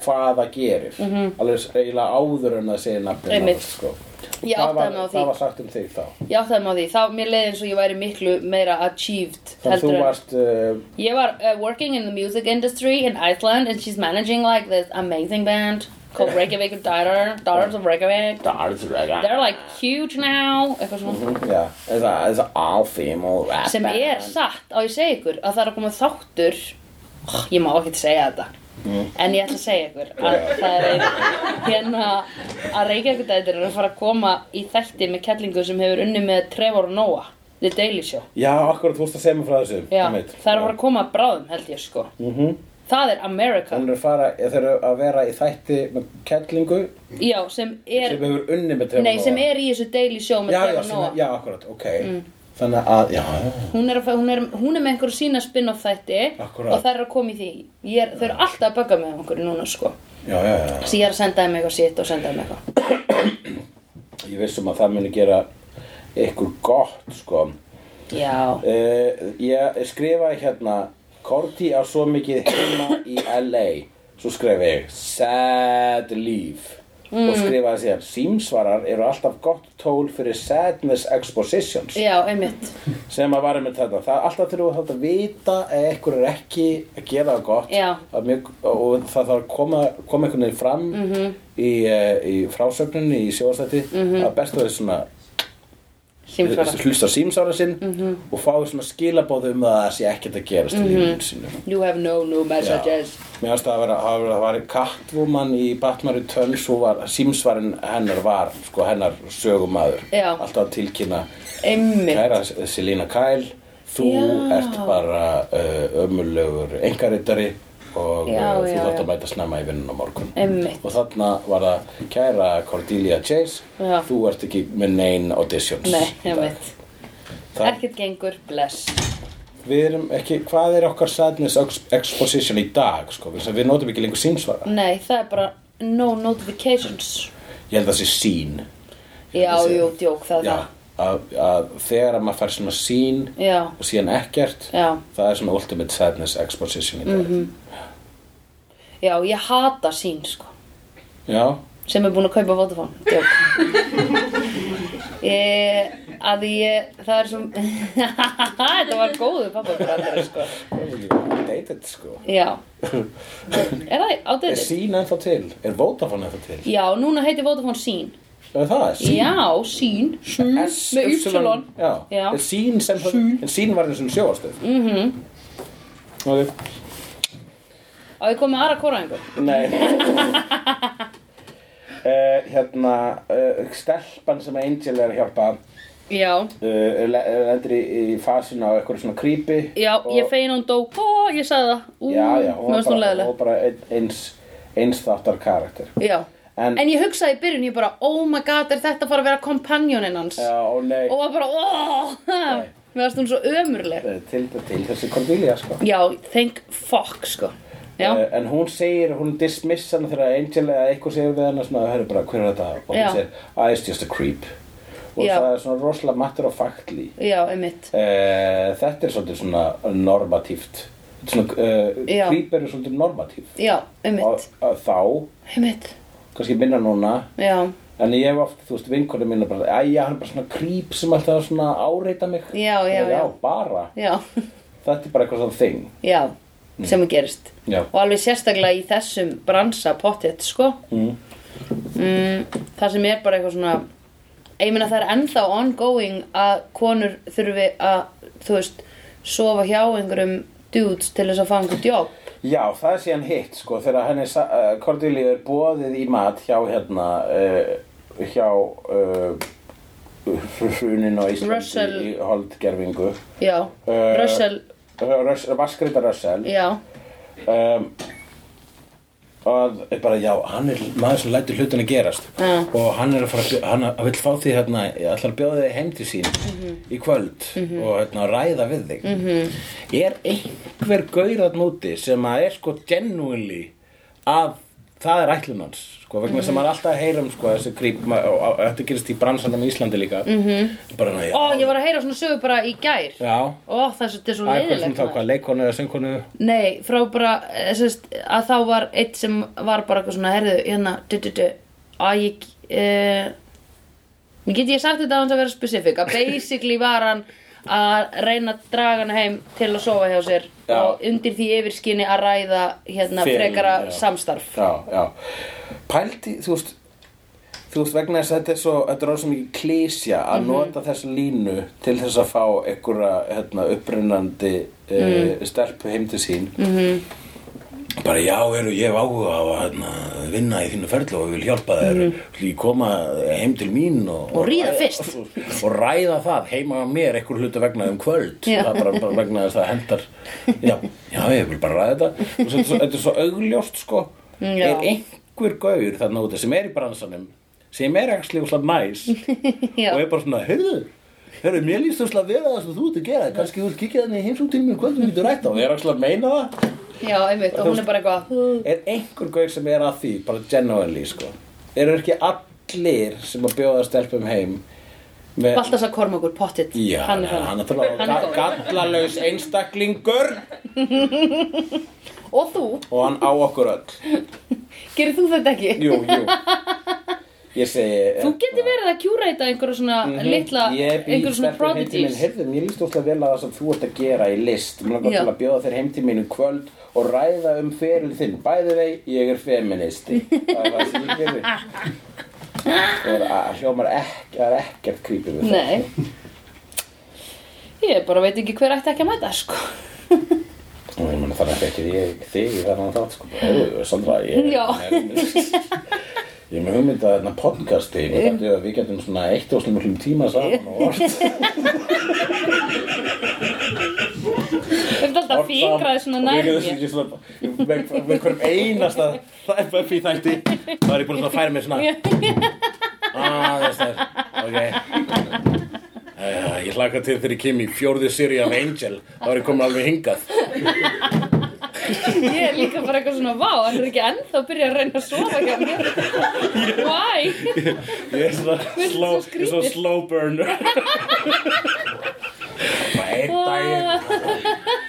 Speaker 3: hvað það gerir mm -hmm. Alveg eiginlega áður en það segir nafnir
Speaker 2: Einmitt.
Speaker 3: sko.
Speaker 2: Ég
Speaker 3: Hvað
Speaker 2: áttaði
Speaker 3: var-
Speaker 2: mig á því.
Speaker 3: Hvað var sagt um þig þá?
Speaker 2: Ég áttaði mig á því, þá mér leiði eins og ég væri miklu meira achieved
Speaker 3: Þannig þú
Speaker 2: en-
Speaker 3: varst uh,
Speaker 2: Ég var uh, working in the music industry in Iceland and she's managing like this amazing band called Reykjavik Daughter, Daughters of Reykjavik. They're like huge now, eitthvað svona.
Speaker 3: Já, it's a, it's a all female rap
Speaker 2: Sem
Speaker 3: band.
Speaker 2: er satt á ég segi ykkur að það er að koma þáttur, oh, ég má ekki segja þetta. En ég ætla að segja ykkur að það er ein, hérna að Reykjavík dætir er að fara að koma í þætti með kellingu sem hefur unni með Trevor Noah, The Daily Show.
Speaker 3: Já, akkurat, þú veist að segja mér frá þessu
Speaker 2: Já,
Speaker 3: einmitt. Mhm.
Speaker 2: það er að fara að koma bráðum held ég sko. Það er America,
Speaker 3: Þannig að fara, þeir eru að vera í þætti með kellingu
Speaker 2: já, sem er
Speaker 3: sem hefur unni með Trevor
Speaker 2: Nei,
Speaker 3: Noah.
Speaker 2: sem er í þessu Daily Show með
Speaker 3: já, já,
Speaker 2: Trevor
Speaker 3: sem
Speaker 2: Noah
Speaker 3: er- já, akkurat, ok
Speaker 2: Mm.
Speaker 3: Þannig að, já, já,
Speaker 2: hún, er að, fá- hún, er, hún er með einhverju sína spin-off þætti
Speaker 3: Akkúrat.
Speaker 2: og það er að koma í því Ég er, Þau eru alltaf að bögga með einhverju núna sko
Speaker 3: já, já, já.
Speaker 2: Þessi ég er að senda þeim eitthvað sitt og senda þeim eitthvað
Speaker 3: Ég vissum að það muni gera ykkur gott, sko
Speaker 2: Já,
Speaker 3: uh, Ég skrifaði hérna Korti á svo mikið heima í LA Svo skrifaði ég Sad Leaf
Speaker 2: Mm.
Speaker 3: Og skrifaði síðan Símsvarar eru alltaf gott tól fyrir sadness expositions
Speaker 2: já, einmitt
Speaker 3: sem að varum með þetta það er alltaf þurfum við að vita ef einhver er ekki að gera það gott
Speaker 2: Já.
Speaker 3: Það er mjög, og það þarf að koma, koma einhvern veginn fram
Speaker 2: Mhm.
Speaker 3: -hmm. í, eh, í frásögninni í sjóðastætti mm -hmm. að bestu þau svona eh,
Speaker 2: Símsvara Mhm.
Speaker 3: hlusta á símsára sinn -hmm. og fá þau svona skilabóð um að það sé ekkert að gerast í lífinu sínu
Speaker 2: You have no new messages
Speaker 3: Mér finnst það að vera, að vera, að vera kattvumann í Batman Returns og var, símsvarinn hennar var, sko hennar sögumadur.
Speaker 2: Já.
Speaker 3: Alltaf að tilkynna,
Speaker 2: Einmitt.
Speaker 3: kæra eh, Selina Kyle, þú
Speaker 2: Já.
Speaker 3: ert bara uh, ömulögur engarittari og
Speaker 2: Já,
Speaker 3: uh, þú
Speaker 2: já,
Speaker 3: þátt
Speaker 2: já.
Speaker 3: að mæta snemma í vinnun á morgun.
Speaker 2: Einmitt.
Speaker 3: Og þarna var það, kæra Cordelia Chase,
Speaker 2: Já.
Speaker 3: þú ert ekki með nein auditions.
Speaker 2: Nei,
Speaker 3: í dag.
Speaker 2: einmitt
Speaker 3: Það-
Speaker 2: Ekkert gengur, bless
Speaker 3: Við erum ekki, hvað er okkar sadness ex- exposition í dag, sko, vegna þess að við notum ekki lengur símsvara.
Speaker 2: Nei, það er bara no notifications
Speaker 3: Ég held að það sé sín
Speaker 2: Já,
Speaker 3: Það sé-
Speaker 2: jú, djók, það er
Speaker 3: Já,
Speaker 2: það
Speaker 3: að, að þegar að maður fær svona sín
Speaker 2: Já,
Speaker 3: og síðan ekkert
Speaker 2: Já. Mhm.
Speaker 3: það er svona ultimate sadness exposition í dag
Speaker 2: já, ég hata sín sko
Speaker 3: Já,
Speaker 2: sem er búin að kaupa Vodafone Djók. ég, að ég það er svo þetta var góðu pappa sko.
Speaker 3: dated sko
Speaker 2: já er það á
Speaker 3: Er
Speaker 2: dæti?
Speaker 3: sín ennþá til? Er Vodafone ennþá til?
Speaker 2: já, núna heitir Vodafone Sýn
Speaker 3: Er það? Sín?
Speaker 2: já, Sýn Sýn
Speaker 3: S-
Speaker 2: með ypsilon
Speaker 3: Já,
Speaker 2: Já. Mhm.
Speaker 3: Er sín sem sín. En sín var eins og sjóastöð mm -hmm. Ok,
Speaker 2: og ég kom með aðra kóraðingur
Speaker 3: nei Uh, hérna, uh, stelpan sem Angel er að hjálpa
Speaker 2: já,
Speaker 3: uh, le- lendir í, í fasinu á eitthvað svona creepy
Speaker 2: já, ég fein hún dó ó, ég sagði það, ú,
Speaker 3: já, já,
Speaker 2: Mm,
Speaker 3: hún
Speaker 2: mér
Speaker 3: var
Speaker 2: finnst hún
Speaker 3: bara, hún var
Speaker 2: leðileg
Speaker 3: bara ein- eins, eins þáttar karakter
Speaker 2: já,
Speaker 3: En-
Speaker 2: en, ég hugsaði í byrjun ég bara, oh my god, er þetta að fara að vera kompanjónin hans
Speaker 3: já, og nei,
Speaker 2: og var bara, óóó mér varst hún svo ömurleg
Speaker 3: eh, til, til þessi Cordelia sko.
Speaker 2: já, thank fuck sko já,
Speaker 3: Eh, en hún segir, hún dismiss hana þegar Angel eða eitthvað segir við hana svona, hörru bara, hver er þetta og hún
Speaker 2: Já.
Speaker 3: segir, ah, it's just a creep og
Speaker 2: Já.
Speaker 3: það er svona rosalega matter of factly
Speaker 2: já, einmitt
Speaker 3: uh, þetta er svolítið svona normatíft svona, uh,
Speaker 2: Já.
Speaker 3: creep eru svolítið normatíf
Speaker 2: já,
Speaker 3: og
Speaker 2: einmitt,
Speaker 3: og þá,
Speaker 2: einmitt
Speaker 3: kannski minna núna
Speaker 2: já,
Speaker 3: En ég hef oft, þú veist, vinkonum mín er bara, æja, hann er bara svona krýp sem alltaf svona áreita mig.
Speaker 2: Já, já,
Speaker 3: já.
Speaker 2: já.
Speaker 3: bara.
Speaker 2: já,
Speaker 3: Þetta er bara eitthvað svona þing.
Speaker 2: já sem
Speaker 3: Mm.
Speaker 2: að gerist
Speaker 3: Já.
Speaker 2: og alveg sérstaklega í þessum bransa pottet sko mm. það sem er bara eitthvað svona ég meina það er ennþá ongoing að konur þurfi að þú veist, sofa hjá einhverjum dudes til þess að fá einhver jobb
Speaker 3: Já, það er síðan hitt, sko, þegar henni, sa- uh, Cordelia er boðið í mat hjá hérna, uh, hjá uh, hrunin á Íslandi
Speaker 2: Russell.
Speaker 3: í holdgerfingu.
Speaker 2: já,
Speaker 3: Eh,
Speaker 2: Russell
Speaker 3: Uh, Russ, Vaskrita Russell.
Speaker 2: já,
Speaker 3: um, að er bara já, hann er maður sem lætur hlutin að gerast
Speaker 2: Já.
Speaker 3: og hann er að fara að bjó- hann að- vill fá því hérna, ég ætla að bjóða þig heim til sín
Speaker 2: Mhm. Mm-hmm.
Speaker 3: í kvöld og hérna, ræða við þig -hmm.
Speaker 2: Mm-hmm.
Speaker 3: er einhver gaurat núti sem að er sko genuinely að það er ætlum hans sko, vegna
Speaker 2: Mm-hmm.
Speaker 3: sem maður alltaf heyrum sko, þessi gríp, ma- og og- og þetta gerist í bransanum í Íslandi líka mm
Speaker 2: Mm-hmm.
Speaker 3: -hmm. bara ná, já,
Speaker 2: Ó, ég var að heyra svona sögu bara í gær.
Speaker 3: já
Speaker 2: Ó, það er svo, þetta er svo
Speaker 3: Það er hvað sem
Speaker 2: leiðilegt.
Speaker 3: þá, hvað,
Speaker 2: maður.
Speaker 3: leikonu eða söngkonu?
Speaker 2: Nei, frá bara, eh, sem sagt, að þá var eitt sem var bara eitthvað svona, heyrðu, hérna, du, du, du, að ég, uh, Get ég sagt þetta á hans að vera specific að basically var hann að reyna að draga hann heim til að sofa hjá sér
Speaker 3: Já.
Speaker 2: og undir því yfirskinni að ræða hérna
Speaker 3: Fel,
Speaker 2: frekara
Speaker 3: já.
Speaker 2: samstarf
Speaker 3: já, já pældi, þú veist þú veist vegna þess að þetta er svo þetta er orðið svo mikið klísja að nota þessa línu til þess að fá einhverja hérna, upprennandi mm. stelpu heim til sín
Speaker 2: Mhm.
Speaker 5: bara já, heru, ég hef áhuga á að hérna, vinna í þínu ferli og ég vil hjálpa þér mm -hmm. koma
Speaker 3: eh,
Speaker 5: heim til mín og,
Speaker 2: Og ríða fyrst.
Speaker 5: og, og ræða það heima að mér einhver hlutu vegna um kvöld
Speaker 2: Já.
Speaker 5: það er bara, bara vegna þess að það hendar já, já, ég vil bara ræða þetta
Speaker 3: og svo, svo, þetta er svo augljóst sko
Speaker 2: Mm, já.
Speaker 3: er einhver gaur þarna úti sem er í bransanum sem er ekki slífuslega næs
Speaker 2: Já.
Speaker 3: og er bara svona, heyrðu Hörru, mér líst þesslega vel að það sem þú ert að gera kannski þú hérna ert kikkið þannig heimsum til mér hvernig þú um getur rætt á og ég er ekki að meina það
Speaker 2: Já, einmitt, og hún er bara eitthvað
Speaker 3: er einhver gaur sem er að því bara genuinely sko eru ekki allir sem að bjóða stelpum heim með
Speaker 2: Baltasar Kormakur, pottitt
Speaker 3: Já,
Speaker 2: hann er
Speaker 3: hann
Speaker 2: hann
Speaker 3: er bara
Speaker 2: góður.
Speaker 3: gallalaus einstaklingur
Speaker 2: Og þú,
Speaker 3: og hann á okkur öll
Speaker 2: gerir þú þetta ekki?
Speaker 3: Jú, jú Ég segi eh,
Speaker 2: Þú getur verið að kjúræta einhverju svona
Speaker 3: Mhm,
Speaker 2: litla, einhverju svona prodigies
Speaker 3: Hérðu, mér líst óslega vel að það sem þú ert að gera í list Mér langar
Speaker 2: Já.
Speaker 3: til að bjóða þér heim til mín um kvöld og ræða um feril þinn Bæði vei, ég er feministi Það er það sem ég gerir Það er að hljómar ekki, það er ekkert creepy við það
Speaker 2: Nei Ég bara veit ekki hver ætti ekki að mæta, sko
Speaker 3: Og ég meina þannig ekki ég, þig í þennan þátt sko Hefðu, Sandra, ég
Speaker 2: Já.
Speaker 3: er Ég er með hugmynd að þarna podcasti Ég veit að við getum svona eitt og slum tíma saman og orð
Speaker 2: Þetta er alltaf fíkraði svona nærið
Speaker 3: Ég er svona, með, með hverjum einasta það er Buffy þætti þá er ég búin að svona færa mér svona ah, þess þær, ok uh, ég hlaka til þegar ég kem í fjórðu seri af Angel þá er ég komin alveg hingað
Speaker 2: Ég er líka bara eitthvað svona, vá, hann er ekki ennþá að byrja að reyna að sofa hjá mér Why?
Speaker 3: ég er svona
Speaker 2: svo
Speaker 3: slow, ég er svona
Speaker 2: skrýtið.
Speaker 3: slow burner bara einn
Speaker 2: Ah,
Speaker 3: daginn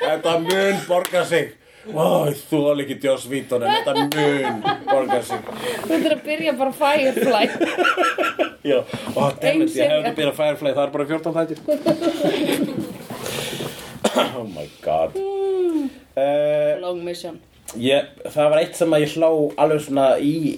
Speaker 3: þetta mun borga sig Ó, þú alveg ekki Joss Víton en þetta mun borga sig
Speaker 2: Þú ert að byrja bara Firefly
Speaker 3: Já, ó, dammit,
Speaker 2: Einn
Speaker 3: ég hefði
Speaker 2: sería.
Speaker 3: að byrja Firefly, það er bara 14 þættir Oh my god uh,
Speaker 2: Long Mission
Speaker 3: ég, Það var eitt sem að ég hló alveg svona í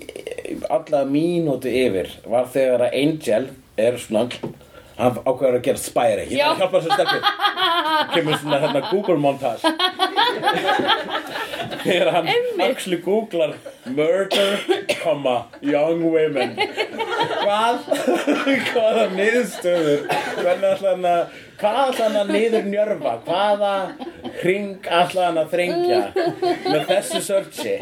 Speaker 3: alla mínútu yfir var þegar að Angel er svona hann ákveður að gera spæri ég
Speaker 2: Já.
Speaker 3: þarf að hjálpa þessu stelpu kemur svona hérna Google montage þegar hann
Speaker 2: Einmitt.
Speaker 3: actually googlar murder, comma, young women hvað hvaða niðurstöður hvernig ætla hann að hvað ætla hann að niður njörfa hvaða hring ætla hann að þrengja með þessu searchi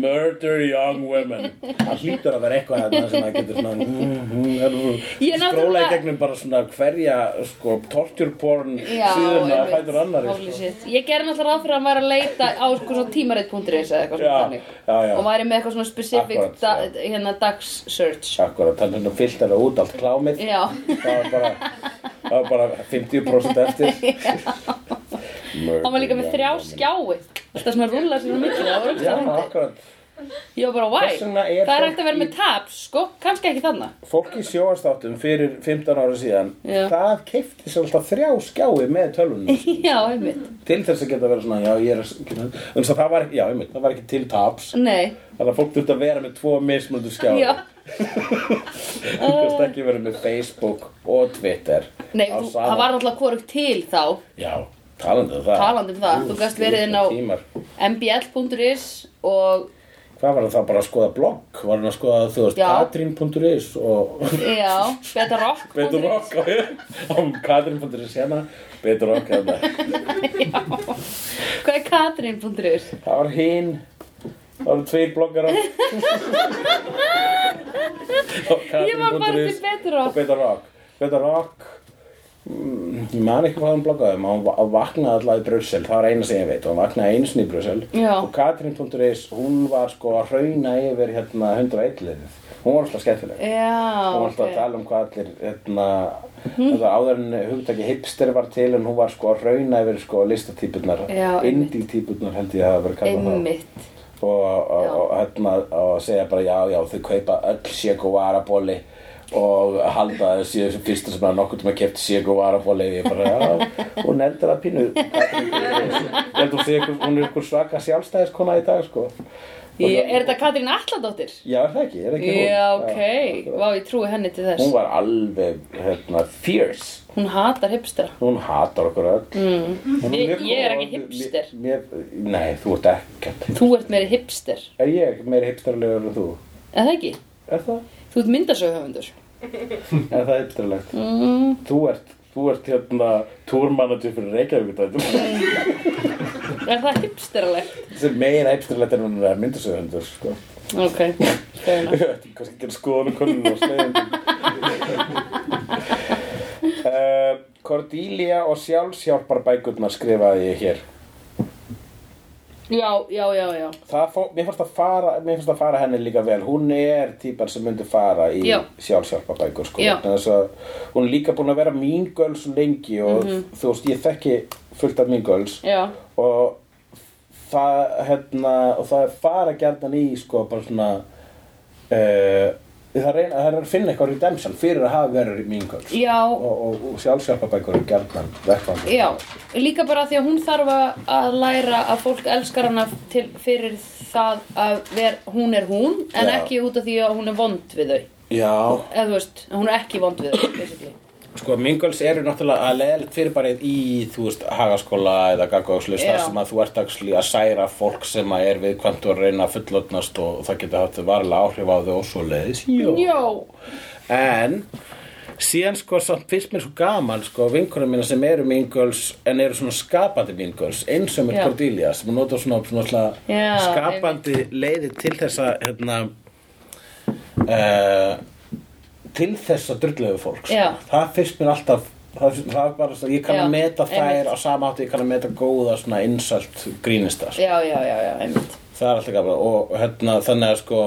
Speaker 3: murder young women það hlýtur að vera eitthvað þarna sem að getur svona mm, mm,
Speaker 2: Ég náttúrulega-
Speaker 3: skróla í gegnum bara svona hverja sko, torture porn
Speaker 2: Já,
Speaker 3: síðan að
Speaker 2: einmitt.
Speaker 3: fætur sko. annari
Speaker 2: Holy shit. Ég gerði náttúrulega ráð fyrir að hann væri að leita á sko svona tímarit.is eða eitthvað svona
Speaker 3: Já,
Speaker 2: þannig
Speaker 3: já, já.
Speaker 2: Og væri með eitthvað svona specific
Speaker 3: Akkurat,
Speaker 2: da,
Speaker 3: já.
Speaker 2: hérna dags search
Speaker 3: Akkurat, hann er nú fyllt alveg út allt klámið
Speaker 2: Já,
Speaker 3: það var bara, það var bara 50% eftir
Speaker 2: hann var líka með þrjá skjái Alltaf svona rúla sér á milli, það var
Speaker 3: Já,
Speaker 2: ógeðslega fyndið.
Speaker 3: akkurat
Speaker 2: Ég var bara, why?
Speaker 3: Þess vegna er
Speaker 2: það er
Speaker 3: fólk
Speaker 2: hægt að vera með tabs, sko, kannski ekki þarna
Speaker 3: Fólk í sjóastáttum fyrir 15 ára síðan
Speaker 2: Já.
Speaker 3: það keipti sér alltaf þrjá skjái með tölvunum
Speaker 2: Já, einmitt
Speaker 3: til þess að geta verið svona, já, ég er að en svo það var, já, einmitt, það var ekki til taps
Speaker 2: Nei,
Speaker 3: þannig að fólk þurfti að vera með tvo mismundu skjáði
Speaker 2: já
Speaker 3: þú kannst ekki verið með Facebook og Twitter
Speaker 2: Nei,
Speaker 3: á
Speaker 2: þú,
Speaker 3: sama-
Speaker 2: það var alltaf hvorugt til þá
Speaker 3: já, talandi um það
Speaker 2: Talandi um það, þú gast verið inn á-
Speaker 3: tímar.
Speaker 2: mbl.is og
Speaker 3: hvað var það þá bara að skoða blogg var hann að skoða, þú veist,
Speaker 2: Já.
Speaker 3: katrin.is og
Speaker 2: já, betarrock
Speaker 3: betur okk á katrin.is hérna betur okk hérna
Speaker 2: Hvað er katrin.is?
Speaker 3: það var hinn það voru tveir bloggar á
Speaker 2: Ég var bara til
Speaker 3: og
Speaker 2: betarrock
Speaker 3: Beta Rock Beta Rock mm, ég man ekki hvað hann bloggaði um, hann va- hann vaknaði alltaf í Brussel það var eina sem ég veit, hann vaknaði einu sinni í Brussel
Speaker 2: Já.
Speaker 3: og Katrin.is, hún var sko að hrauna yfir hérna 101 liðið hún var alltaf skemmtileg
Speaker 2: Já,
Speaker 3: hún var
Speaker 2: ok
Speaker 3: alltaf að
Speaker 2: Mhm.
Speaker 3: tala um hvað allir hérna, þetta áður en hugtaki hipster var til en hún var sko að hrauna yfir sko listatýpurnar,
Speaker 2: Já, einmitt.
Speaker 3: indie-týpurnar held ég að hafa verið kallað um það
Speaker 2: Einmitt
Speaker 3: og, og,
Speaker 2: Já.
Speaker 3: og, hérna, og segja bara já, já, þau kaupa öll Che Guevara bóli og halda að sé þessi fyrsta sem hann nokkuð til að kefti Sigur var að fóra leiði ég bara, já, hún eldur að pínu ég held hún sé ykkur, hún er ykkur svaka sjálfstæðiskona í dag sko.
Speaker 2: Ég, er þetta Katrín Alladóttir?
Speaker 3: já, er það ekki, er það ekki hún
Speaker 2: Já, ok. Vá, ég trúi henni til þess.
Speaker 3: hún var alveg, hérna, fierce
Speaker 2: Hún hatar hipstera.
Speaker 3: hún hatar okkur öll mm.
Speaker 2: Ég- ég er ekki hipster.
Speaker 3: mér, nei, þú ert ekkert
Speaker 2: Þú ert meiri hipster.
Speaker 3: er ég meira hipsterlegur en þú?
Speaker 2: Er það ekki?
Speaker 3: er það?
Speaker 2: Þú ert myndasöguhöfundur.
Speaker 3: er það hipsterlegt? Mm. þú ert, þú ert hérna túrmanager fyrir Reykjavík
Speaker 2: Er það hipsteralegt?
Speaker 3: sem meira hipsterlegt en hún er myndasöðundur sko.
Speaker 2: Ok. fair enough.
Speaker 3: kannski að gera skoðan og konun og slegin uh, Cordelia og sjálfsjálparbækurnar skrifaði ég hér
Speaker 2: Já, já, já, já.
Speaker 3: það fó, mér fannst að fara mér fannst að fara henni líka vel hún er típar sem myndi fara í
Speaker 2: Já.
Speaker 3: sjálfsjálpabækur sko.
Speaker 2: Já.
Speaker 3: Vegna þess að hún er líka búin að vera mín girls lengi og þú veist ég þekki fullt af mín girls
Speaker 2: Já.
Speaker 3: og það hérna og það fara gjarnan í sko bara svona uh, það reyna það er að finna eitthvað redemption fyrir að hafa verið mín girls
Speaker 2: Já,
Speaker 3: og, og, og sjálfsjálpabækur er gjarnan verkvandur
Speaker 2: já. Líka bara því að hún þarf að- að læra að fólk elskar hana til, fyrir það að ver, hún er hún en
Speaker 3: Já.
Speaker 2: ekki út af því að hún er vond við þau.
Speaker 3: já
Speaker 2: Eða þú veist, hún er ekki vond við þau, basically.
Speaker 3: Sko, mingöls eru náttúrulega að leðilegt fyrirbærið í, þú veist, hagaskóla eða gaggóðslu,
Speaker 2: Já.
Speaker 3: þar sem að þú ert actually að særa fólk sem að er viðkvæmt og reyna að fullotnast og það getur haft varlega áhrif á þau og svo leiðis.
Speaker 2: Já.
Speaker 3: En, síðan sko, samt fyrst mér svo gaman, sko, vinkunum mína sem eru mingöls en eru svona skapandi mingöls, eins og með
Speaker 2: Já.
Speaker 3: Cordelia, sem notar svona, svona, svona
Speaker 2: Já,
Speaker 3: skapandi leiði til þess að, hérna, uh, til þess að drullegu fólk sko.
Speaker 2: Já.
Speaker 3: það finnst mér alltaf það, það er bara, svo- ég kann
Speaker 2: Já,
Speaker 3: að meta þær
Speaker 2: einmitt.
Speaker 3: á sama hátt, og ég kann að meta góða svona insult grínista sko.
Speaker 2: Já, já, já, já, einmitt.
Speaker 3: það er alltaf gafla og hérna, þannig að sko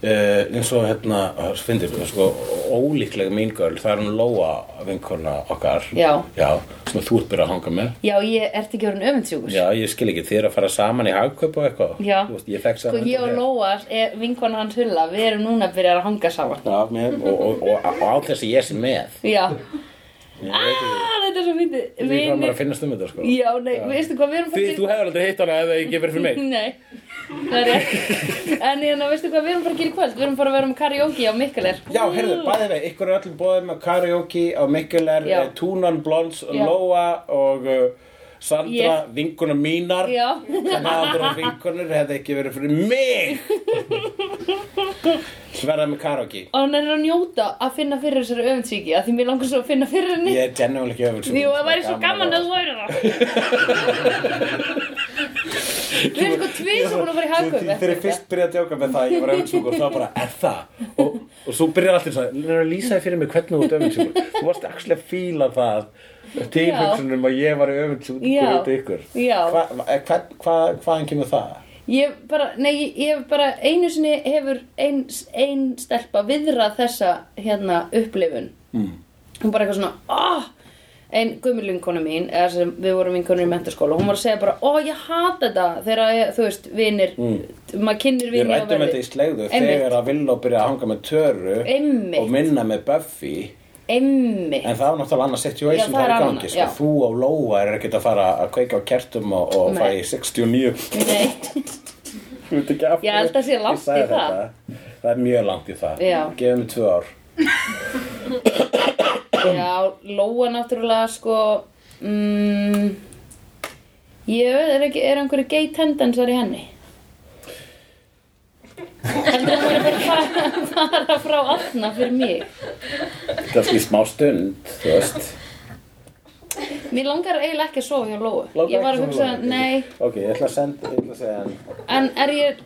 Speaker 3: Uh, eins og hérna findir, sko, ólíklega mín girl það er hún Lóa vinkona okkar
Speaker 2: Já.
Speaker 3: sem þú ert byrjað að hanga með
Speaker 2: Já, ég ert ekki orðin öfundsjúkur.
Speaker 3: já, ég skil ekki, þið er að fara saman í hagkaup og eitthvað
Speaker 2: Já.
Speaker 3: Þú veist, ég fekk
Speaker 2: Sko
Speaker 3: saman
Speaker 2: ég og
Speaker 3: þetta-
Speaker 2: Lóa, er- vinkona hans Hulla, við erum núna að byrja að hanga saman.
Speaker 3: Já, mér, og, og, og, og á þess að ég sé með
Speaker 2: Já,
Speaker 3: ég veit ekki,
Speaker 2: ah, þetta er svo fyndið.
Speaker 3: ég veit hvað maður er að finnast um þetta sko.
Speaker 2: Já, nei, veistu hvað við erum
Speaker 1: Þið, þú hefur aldrei heitt hana ef það ekki verið fyrir mig.
Speaker 2: Nei, það er rétt. En hérna, veistu hvað við erum bara að gera í kvöld? Við erum bara að vera með karaoke á Mikkeler.
Speaker 3: Já, heyrðu, bæði vei, ykkur er öllum bóðið með karaoke á Mikkeler,
Speaker 2: Mm. Já.
Speaker 3: Túnan Blondes,
Speaker 2: Já.
Speaker 3: Lóa og uh, Sandra, yeah.
Speaker 2: Ég.
Speaker 3: vinkuna mínar
Speaker 2: Já,
Speaker 3: sem aðra vinkunur hefði ekki verið fyrir mig Sverða með karaoke
Speaker 2: og hann er að njóta að finna fyrir þessari öfundsvíki, að því mér langar svo að finna fyrir henni.
Speaker 3: Ég er general ekki öfur
Speaker 2: Jú, það væri svo gaman að þú væri það. Við erum sko tvið sem búin að fara í hagkaup
Speaker 3: Þegar ég fyrst byrjaði að djóka með það, ég var öfundsjúkur og það bara, er það? Og, og svo byrjar alltaf þess að, lýsa lýsaði fyrir mig hvernig þú ert öfundsjúkur Þú varst actually að fíla það tilhugsunum að ég var öfundsjúkur út í ykkur
Speaker 2: Já, já.
Speaker 3: Hva, hva, hva, hvaðan kemur það?
Speaker 2: Ég bara, nei, ég- ég hef bara einu sinni hefur ein, ein stelpa viðrað þessa hérna upplifun. Mm. Hún bara eitthvað svona, oh, ein gummilvinkonu mín, eða sem við vorum vinkonur í mentaskóla, hún var að segja bara, ó, ég hata þetta þegar, ég, þú veist, vinir, maður kynir
Speaker 3: Mm. Við
Speaker 2: vinir
Speaker 3: rættum þetta í slegðu
Speaker 2: Einmitt.
Speaker 3: þegar að Villó byrja að hanga með Töru
Speaker 2: Einmitt.
Speaker 3: og minna með Buffy
Speaker 2: Einmitt.
Speaker 3: en það var náttúrulega annað
Speaker 2: Já,
Speaker 3: situation
Speaker 2: það
Speaker 3: þar
Speaker 2: er
Speaker 3: í
Speaker 2: annað,
Speaker 3: gangi
Speaker 2: já.
Speaker 3: sko. þú og Lóa er ekkert að fara að kveika á kertum og, og
Speaker 2: Nei.
Speaker 3: fara í 69
Speaker 2: Nei,
Speaker 3: Ég veit ekki af
Speaker 2: Ég held að sé
Speaker 3: hverju
Speaker 2: langt
Speaker 3: ég sagði
Speaker 2: í það.
Speaker 3: þetta. það er mjög langt í það
Speaker 2: Já.
Speaker 3: gefum við tvö ár
Speaker 2: já, Lóa náttúrulega, sko, mm, ég veit, er, ekki, er einhverju gay tendensar í henni? Heldur að hún er bara að fara, fara frá aðna fyrir mig?
Speaker 3: kannski í smá stund þú veist
Speaker 2: Mér langar eiginlega ekki að sofa hjá Lóu.
Speaker 3: Langar
Speaker 2: ég var að
Speaker 3: ekki að
Speaker 2: hugsa,
Speaker 3: sofa hjá Lóu?
Speaker 2: nei,
Speaker 3: ok, ég ætla að senda ég ætla að segja hann
Speaker 2: en er ég,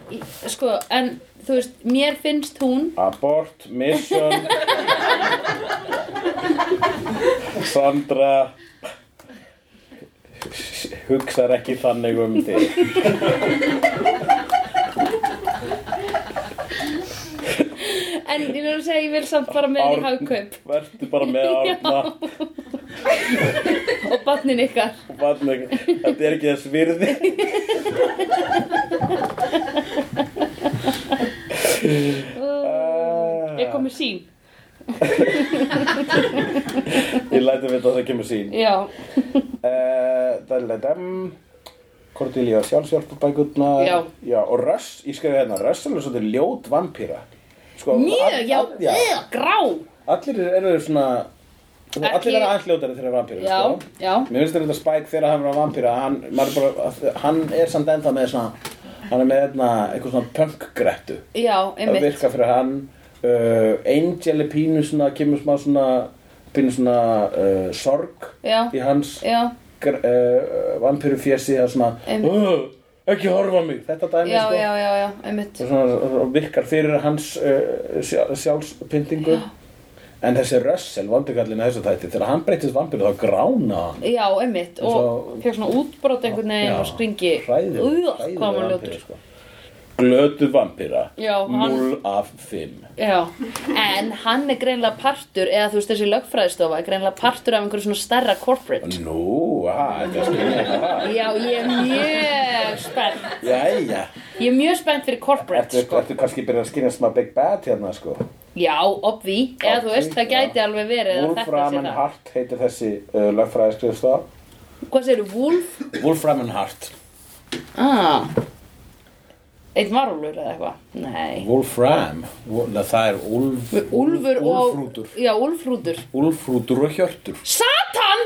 Speaker 2: sko, en þú veist, mér finnst hún,
Speaker 3: abort, mission Sandra hugsar ekki þannig um þig
Speaker 2: en ég vil segja, ég vil samt fara með henni í
Speaker 3: Árn-
Speaker 2: hagkaup
Speaker 3: Vertu bara með Arna
Speaker 2: og barnin ykkar.
Speaker 3: og barnleik Þetta er ekki þess virði
Speaker 2: Uh, ég kom með sín.
Speaker 3: Ég læti við það það kemur sín.
Speaker 2: Já,
Speaker 3: Eh, Dalladam. Cordelia sjálfsjálfabækurnar.
Speaker 2: Já.
Speaker 3: Já, og Russ, ég skrifa hérna, Russ er alveg svolítið ljót vampíra. Sko,
Speaker 2: mjög,
Speaker 3: all-
Speaker 2: já,
Speaker 3: all-
Speaker 2: já. grá
Speaker 3: Allir eru svona, allir
Speaker 2: Ekki-
Speaker 3: eru aðeins ljótari þegar vampíra,
Speaker 2: Já,
Speaker 3: sko.
Speaker 2: já,
Speaker 3: Mér finnst þetta Spike þegar hann var vampíra hann, maður er bara, hann er samt ennþá með svona, hann er með einna, eitthvað svona punk-grettu
Speaker 2: já,
Speaker 3: að
Speaker 2: einmitt
Speaker 3: virka fyrir hann uh, Angel er pínu svona kemur smá svona pínu svona uh, sorg
Speaker 2: Já.
Speaker 3: í hans
Speaker 2: Já,
Speaker 3: gr- uh, vampíru fjessi að svona
Speaker 2: Einmitt.
Speaker 3: "Ugh, ekki horfa á mig þetta dæmi
Speaker 2: já,
Speaker 3: sko
Speaker 2: já, já, já, einmitt
Speaker 3: og svona, og virkar fyrir hans uh, sjál- sjálfspyndingu en þessi Russell vampirgallin að þessu þætti þegar hann breytist vampíru þá grána hann
Speaker 2: Já, einmitt,
Speaker 3: Og
Speaker 2: og
Speaker 3: svo-
Speaker 2: fekk svona útbrot einhvern veginn
Speaker 3: Já.
Speaker 2: og skringi
Speaker 3: hræðileg,
Speaker 2: Úða,
Speaker 3: hræðileg
Speaker 2: hvað hann var
Speaker 3: vampíra,
Speaker 2: ljótur
Speaker 3: sko. glötu vampíra
Speaker 2: Já, hann-
Speaker 3: 0 af 5
Speaker 2: Já, en hann er greinlega partur, eða þú veist þessi lögfræðistofa er greinlega partur af einhverju svona stærra corporate
Speaker 3: nú, aha, þetta er skilja
Speaker 2: Já, ég er mjög spennt
Speaker 3: jæja,
Speaker 2: Ég er mjög spennt fyrir corporate,
Speaker 3: ertu,
Speaker 2: sko
Speaker 3: ertu kannski byrjað að skilja smá Big Bad hérna sko
Speaker 2: Já, obvi, eða þú veist, það gæti alveg verið að þetta
Speaker 3: Wolfram
Speaker 2: sé
Speaker 3: and
Speaker 2: það
Speaker 3: Hart heitir þessi uh, lögfræðiskrifstof
Speaker 2: Hvað segirðu, Wolf?
Speaker 3: Wolfram and Hart
Speaker 2: Ah Eitt marulur eða eitthvað Nei
Speaker 3: Wolfram, Wo- na, það er Ulf,
Speaker 2: Úlfur og
Speaker 3: Úlfrútur
Speaker 2: Já, úlfrútur
Speaker 3: Úlfrútur og hjörtur
Speaker 2: Satan!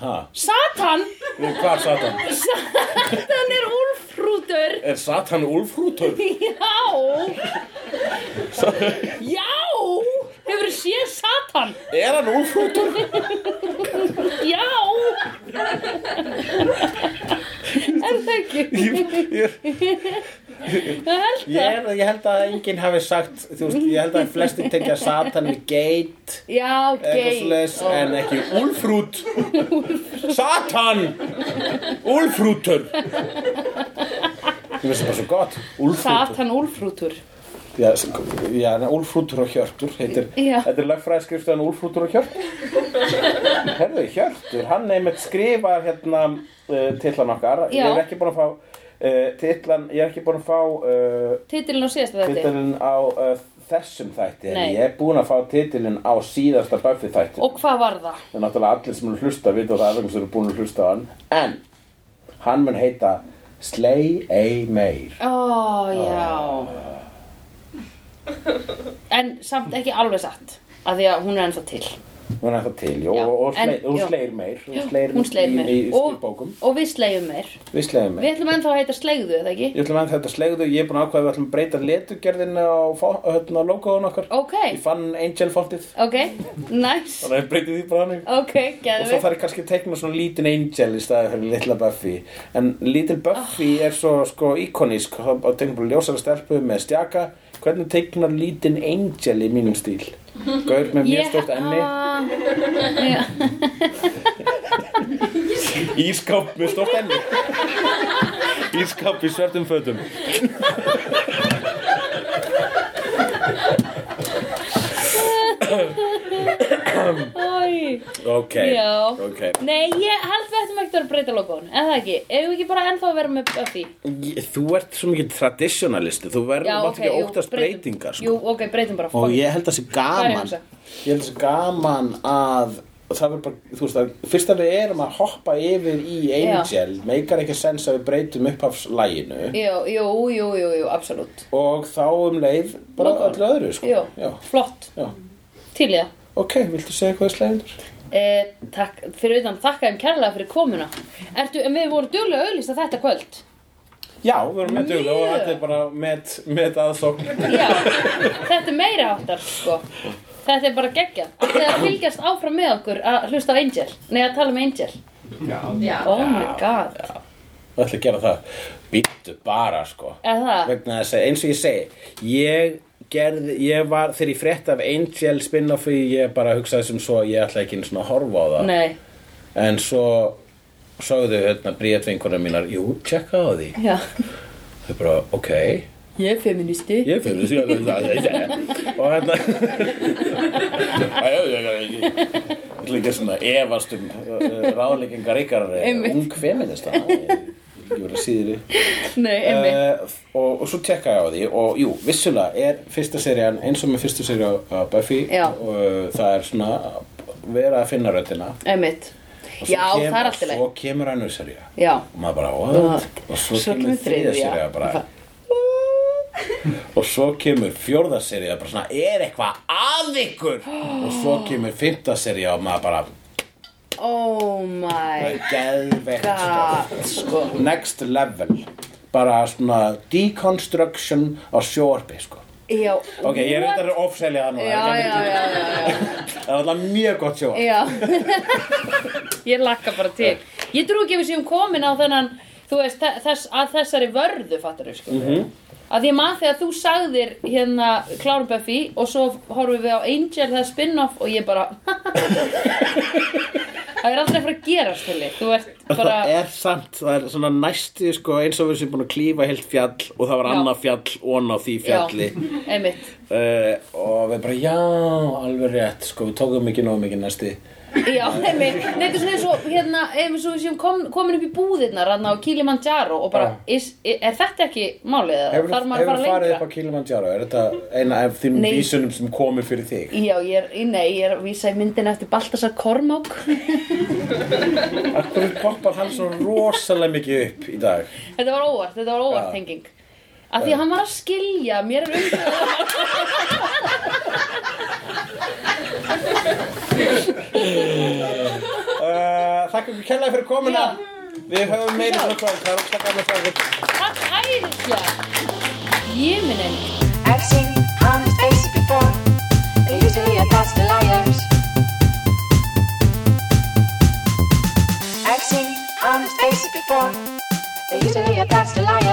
Speaker 3: ha,
Speaker 2: Satan!
Speaker 3: hvað er Satan?
Speaker 2: Satan er úlfrútur
Speaker 3: er Satan Úlfrútur?
Speaker 2: Já Já Hefur séð Satan
Speaker 3: er hann Úlfrútur?
Speaker 2: Já Er það ekki?
Speaker 3: ég,
Speaker 2: Það held það
Speaker 3: ég, er- ég held að enginn hafi sagt þú veist, ég held að flestir tengja Satan við geit
Speaker 2: Já,
Speaker 3: eitthvað
Speaker 2: gay
Speaker 3: svoleiðis, en ekki Úlfrút Satan Úlfrútur ég finnst það bara svo gott Úlfrútur
Speaker 2: Satan úlfrútur
Speaker 3: já, s- já, en Úlfrútur og Hjörtur heitir,
Speaker 2: Já.
Speaker 3: þetta er lögfræðskriftaðan Úlfrútur og Hjörtur herðu, Hjörtur, hann einmitt skrifar hérna uh, tillan okkar ég
Speaker 2: Já.
Speaker 3: er ekki búin að fá uh, tillan, ég er ekki búin að fá uh,
Speaker 2: Titilin á síðasta þetta
Speaker 3: titilin á uh, þessum þætti en
Speaker 2: Nei.
Speaker 3: ég er búin að fá titilin á síðasta Buffy þætti
Speaker 2: Og hvað var það?
Speaker 3: Það er náttúrulega allir sem eru að hlusta vita það er einhvers sem eru búin að hlusta á hann En hann mun heita Slay A Meir
Speaker 2: Ó, já En samt ekki alveg satt Af því að hún er ennþá til
Speaker 3: Hún er það til, jú,
Speaker 2: Já,
Speaker 3: og, og
Speaker 2: en-
Speaker 3: slay, hún
Speaker 2: já.
Speaker 3: slegir meir Hún slegir,
Speaker 2: Hún sleir
Speaker 3: í-
Speaker 2: mér
Speaker 3: í, í, í
Speaker 2: og,
Speaker 3: bókum
Speaker 2: og við sleiðum mér
Speaker 3: Við slegir meir
Speaker 2: Við ætlum ennþá að heita sleigðu, eða ekki?
Speaker 3: Ég ætlum að þetta slegðu, ég er búin að ákveða að við ætlum að breyta letugerðinu á, fá- hérna, á logoðun okkar
Speaker 2: Ok,
Speaker 3: Ég fann Angel fontið
Speaker 2: ok, næs
Speaker 3: Þannig að ég breyti því bara hannig
Speaker 2: Ok,
Speaker 3: Og svo
Speaker 2: geðum
Speaker 3: þarf ég kannski að teikna svona lítinn angel í staði fyrir litla Buffy En lítil Buffy
Speaker 2: Ah.
Speaker 3: er svo sko íkonísk og það teikna bara ljósara stelpu með stjaka Hvernig teiknar lítinn angel í mínum stíl? Gaur með mjög stórt enni
Speaker 2: enni
Speaker 3: Ískáp með stórt enni Ískáp í svörtum fötum
Speaker 2: Æ,
Speaker 3: Ok,
Speaker 2: já
Speaker 3: ok
Speaker 2: Nei, ég held við ættum ekki að vera að breyta logoðun En það ekki, ef við ekki bara ennþá að vera með Buffy
Speaker 3: Ég- Þú ert svo mikið traditionalisti Þú verður
Speaker 2: Já,
Speaker 3: mátt
Speaker 2: ok,
Speaker 3: ekki að
Speaker 2: jú,
Speaker 3: óttast
Speaker 2: breytum.
Speaker 3: breytingar sko.
Speaker 2: Jú, ok, breytum bara
Speaker 3: Og
Speaker 2: fuck.
Speaker 3: ég held að það sé
Speaker 2: Hvað er ég
Speaker 3: gaman
Speaker 2: að hugsa?
Speaker 3: Ég held að það sé gaman að og það verður bara, þú veist að fyrst að við erum að hoppa yfir í Angel meikar ekki sens að við breytum upphafslæginu
Speaker 2: Jú, jú, jú, jú, jú, absolutt
Speaker 3: og þá um leið bara
Speaker 2: Lokum.
Speaker 3: öllu öðru sko.
Speaker 2: Jú,
Speaker 3: Já.
Speaker 2: flott,
Speaker 3: Já.
Speaker 2: til ég
Speaker 3: Ok, viltu segja eitthvað í slægindur?
Speaker 2: Eh, takk, fyrir utan þakka þeim kærlega fyrir komuna Ertu, en við vorum duglega auðlýst að þetta kvöld
Speaker 3: Já, við erum með duglega og
Speaker 2: Mjög.
Speaker 3: þetta er bara met, met aðsókn
Speaker 2: Já, þetta er meira háttar sko. Þetta er bara geggja Þetta er að fylgjast áfram með okkur að hlusta á Angel Nei, að tala um Angel
Speaker 4: Já.
Speaker 2: Oh my god
Speaker 3: Það ætla að gera það Býttu bara sko
Speaker 2: Er það?
Speaker 3: vegna þess að eins og ég segi ég gerði, ég var þegar ég frétt af Angel spin-offi ég bara hugsaði sem svo að ég ætla ekki einu svona að horfa á það
Speaker 2: Nei,
Speaker 3: En svo sagðu hérna bríðat vinkunar mínar, jú, tjekka á því.
Speaker 2: já
Speaker 3: Þau bara, ok,
Speaker 2: Ég er feministi
Speaker 3: ég finn þessi að það er það. Og hérna, æ, æ, æ, æ, æ. Líka svona efast um uh, ráðleikingar eh, ykkar, uh,
Speaker 2: Einmitt.
Speaker 3: ung feminista. Æ, ekki verið síðri
Speaker 2: Nei, einmitt.
Speaker 3: Eh, og, og svo tekka ég á því og jú, vissulega er fyrsta serían eins og með fyrsta seríu á Buffy
Speaker 2: Já.
Speaker 3: og uh, það er svona vera að finna röddina Eh, og
Speaker 2: einmitt.
Speaker 3: svo
Speaker 2: Já,
Speaker 3: kem-
Speaker 2: það er allt í leið.
Speaker 3: svo kemur annu seríu
Speaker 2: Já. Ah,
Speaker 3: og maður bara, what? og svo, kemur þriðja seríu bara, og svo kemur fjórða seríu bara svona, er eitthvað að ykkur og svo kemur fimmta seríu og maður bara,
Speaker 2: Oh my
Speaker 3: geðveikt
Speaker 2: god,
Speaker 3: sko.
Speaker 2: sko.
Speaker 3: next level bara svona deconstruction á sjóarpi sko
Speaker 2: Já.
Speaker 3: Ok, ég er
Speaker 2: what?
Speaker 3: reyndar að ofselja það nú það er
Speaker 2: Já,
Speaker 3: ekki
Speaker 2: já, já, já, já.
Speaker 3: mikið- Það er alltaf mjög gott sjó
Speaker 2: Já Ég lakka bara til Ég trú ekki að við séum komin á þennan Þú veist, þe- þess, að þessari vörðu fattar við sko Að ég maður þegar þú sagðir hérna Klárum Buffy og svo horfum við á Angel það spin-off og ég bara Það er aldrei að fara að gerast til Þú ert bara
Speaker 3: Það er samt, það er svona næsti sko, eins og við séum búin að klífa heilt fjall og það var
Speaker 2: Já.
Speaker 3: annað fjall og á því fjalli
Speaker 2: Já, einmitt
Speaker 3: uh, og við bara já, alveg rétt sko, við tókum ekki nógu mikið næsti
Speaker 2: Já, einmitt Nei, þetta er svona eins og hérna ef við svo við séum kom, komin upp í búðirnar hérna á Kilimanjaro og bara is, er þetta ekki málið? eða?
Speaker 3: Hefur,
Speaker 2: Þarf maður að
Speaker 3: hefur
Speaker 2: fara
Speaker 3: farið
Speaker 2: lengra?
Speaker 3: upp á Kilimanjaro, er þetta eina af þeim
Speaker 2: Nei.
Speaker 3: vísunum sem komið fyrir þig?
Speaker 2: Já, ég er, í- nei, ég er að vísa í myndina eftir Baltasar Kormák
Speaker 3: Akkur poppar hann svo rosalega mikið upp í dag
Speaker 2: Þetta var óvart, þetta var óvart
Speaker 3: Já.
Speaker 2: tenging Af því að hann var að skilja, mér er um- umfjöðan
Speaker 3: uh, Þakka ykkur kærlega fyrir komuna
Speaker 2: Já.
Speaker 3: Við höfum meira svona hvað, það er óslega gaman að það
Speaker 2: Takk æðislega Ég minn enn
Speaker 6: I've seen honest faces before. They usually are past the liars. I've seen honest faces before. They usually are past the liars.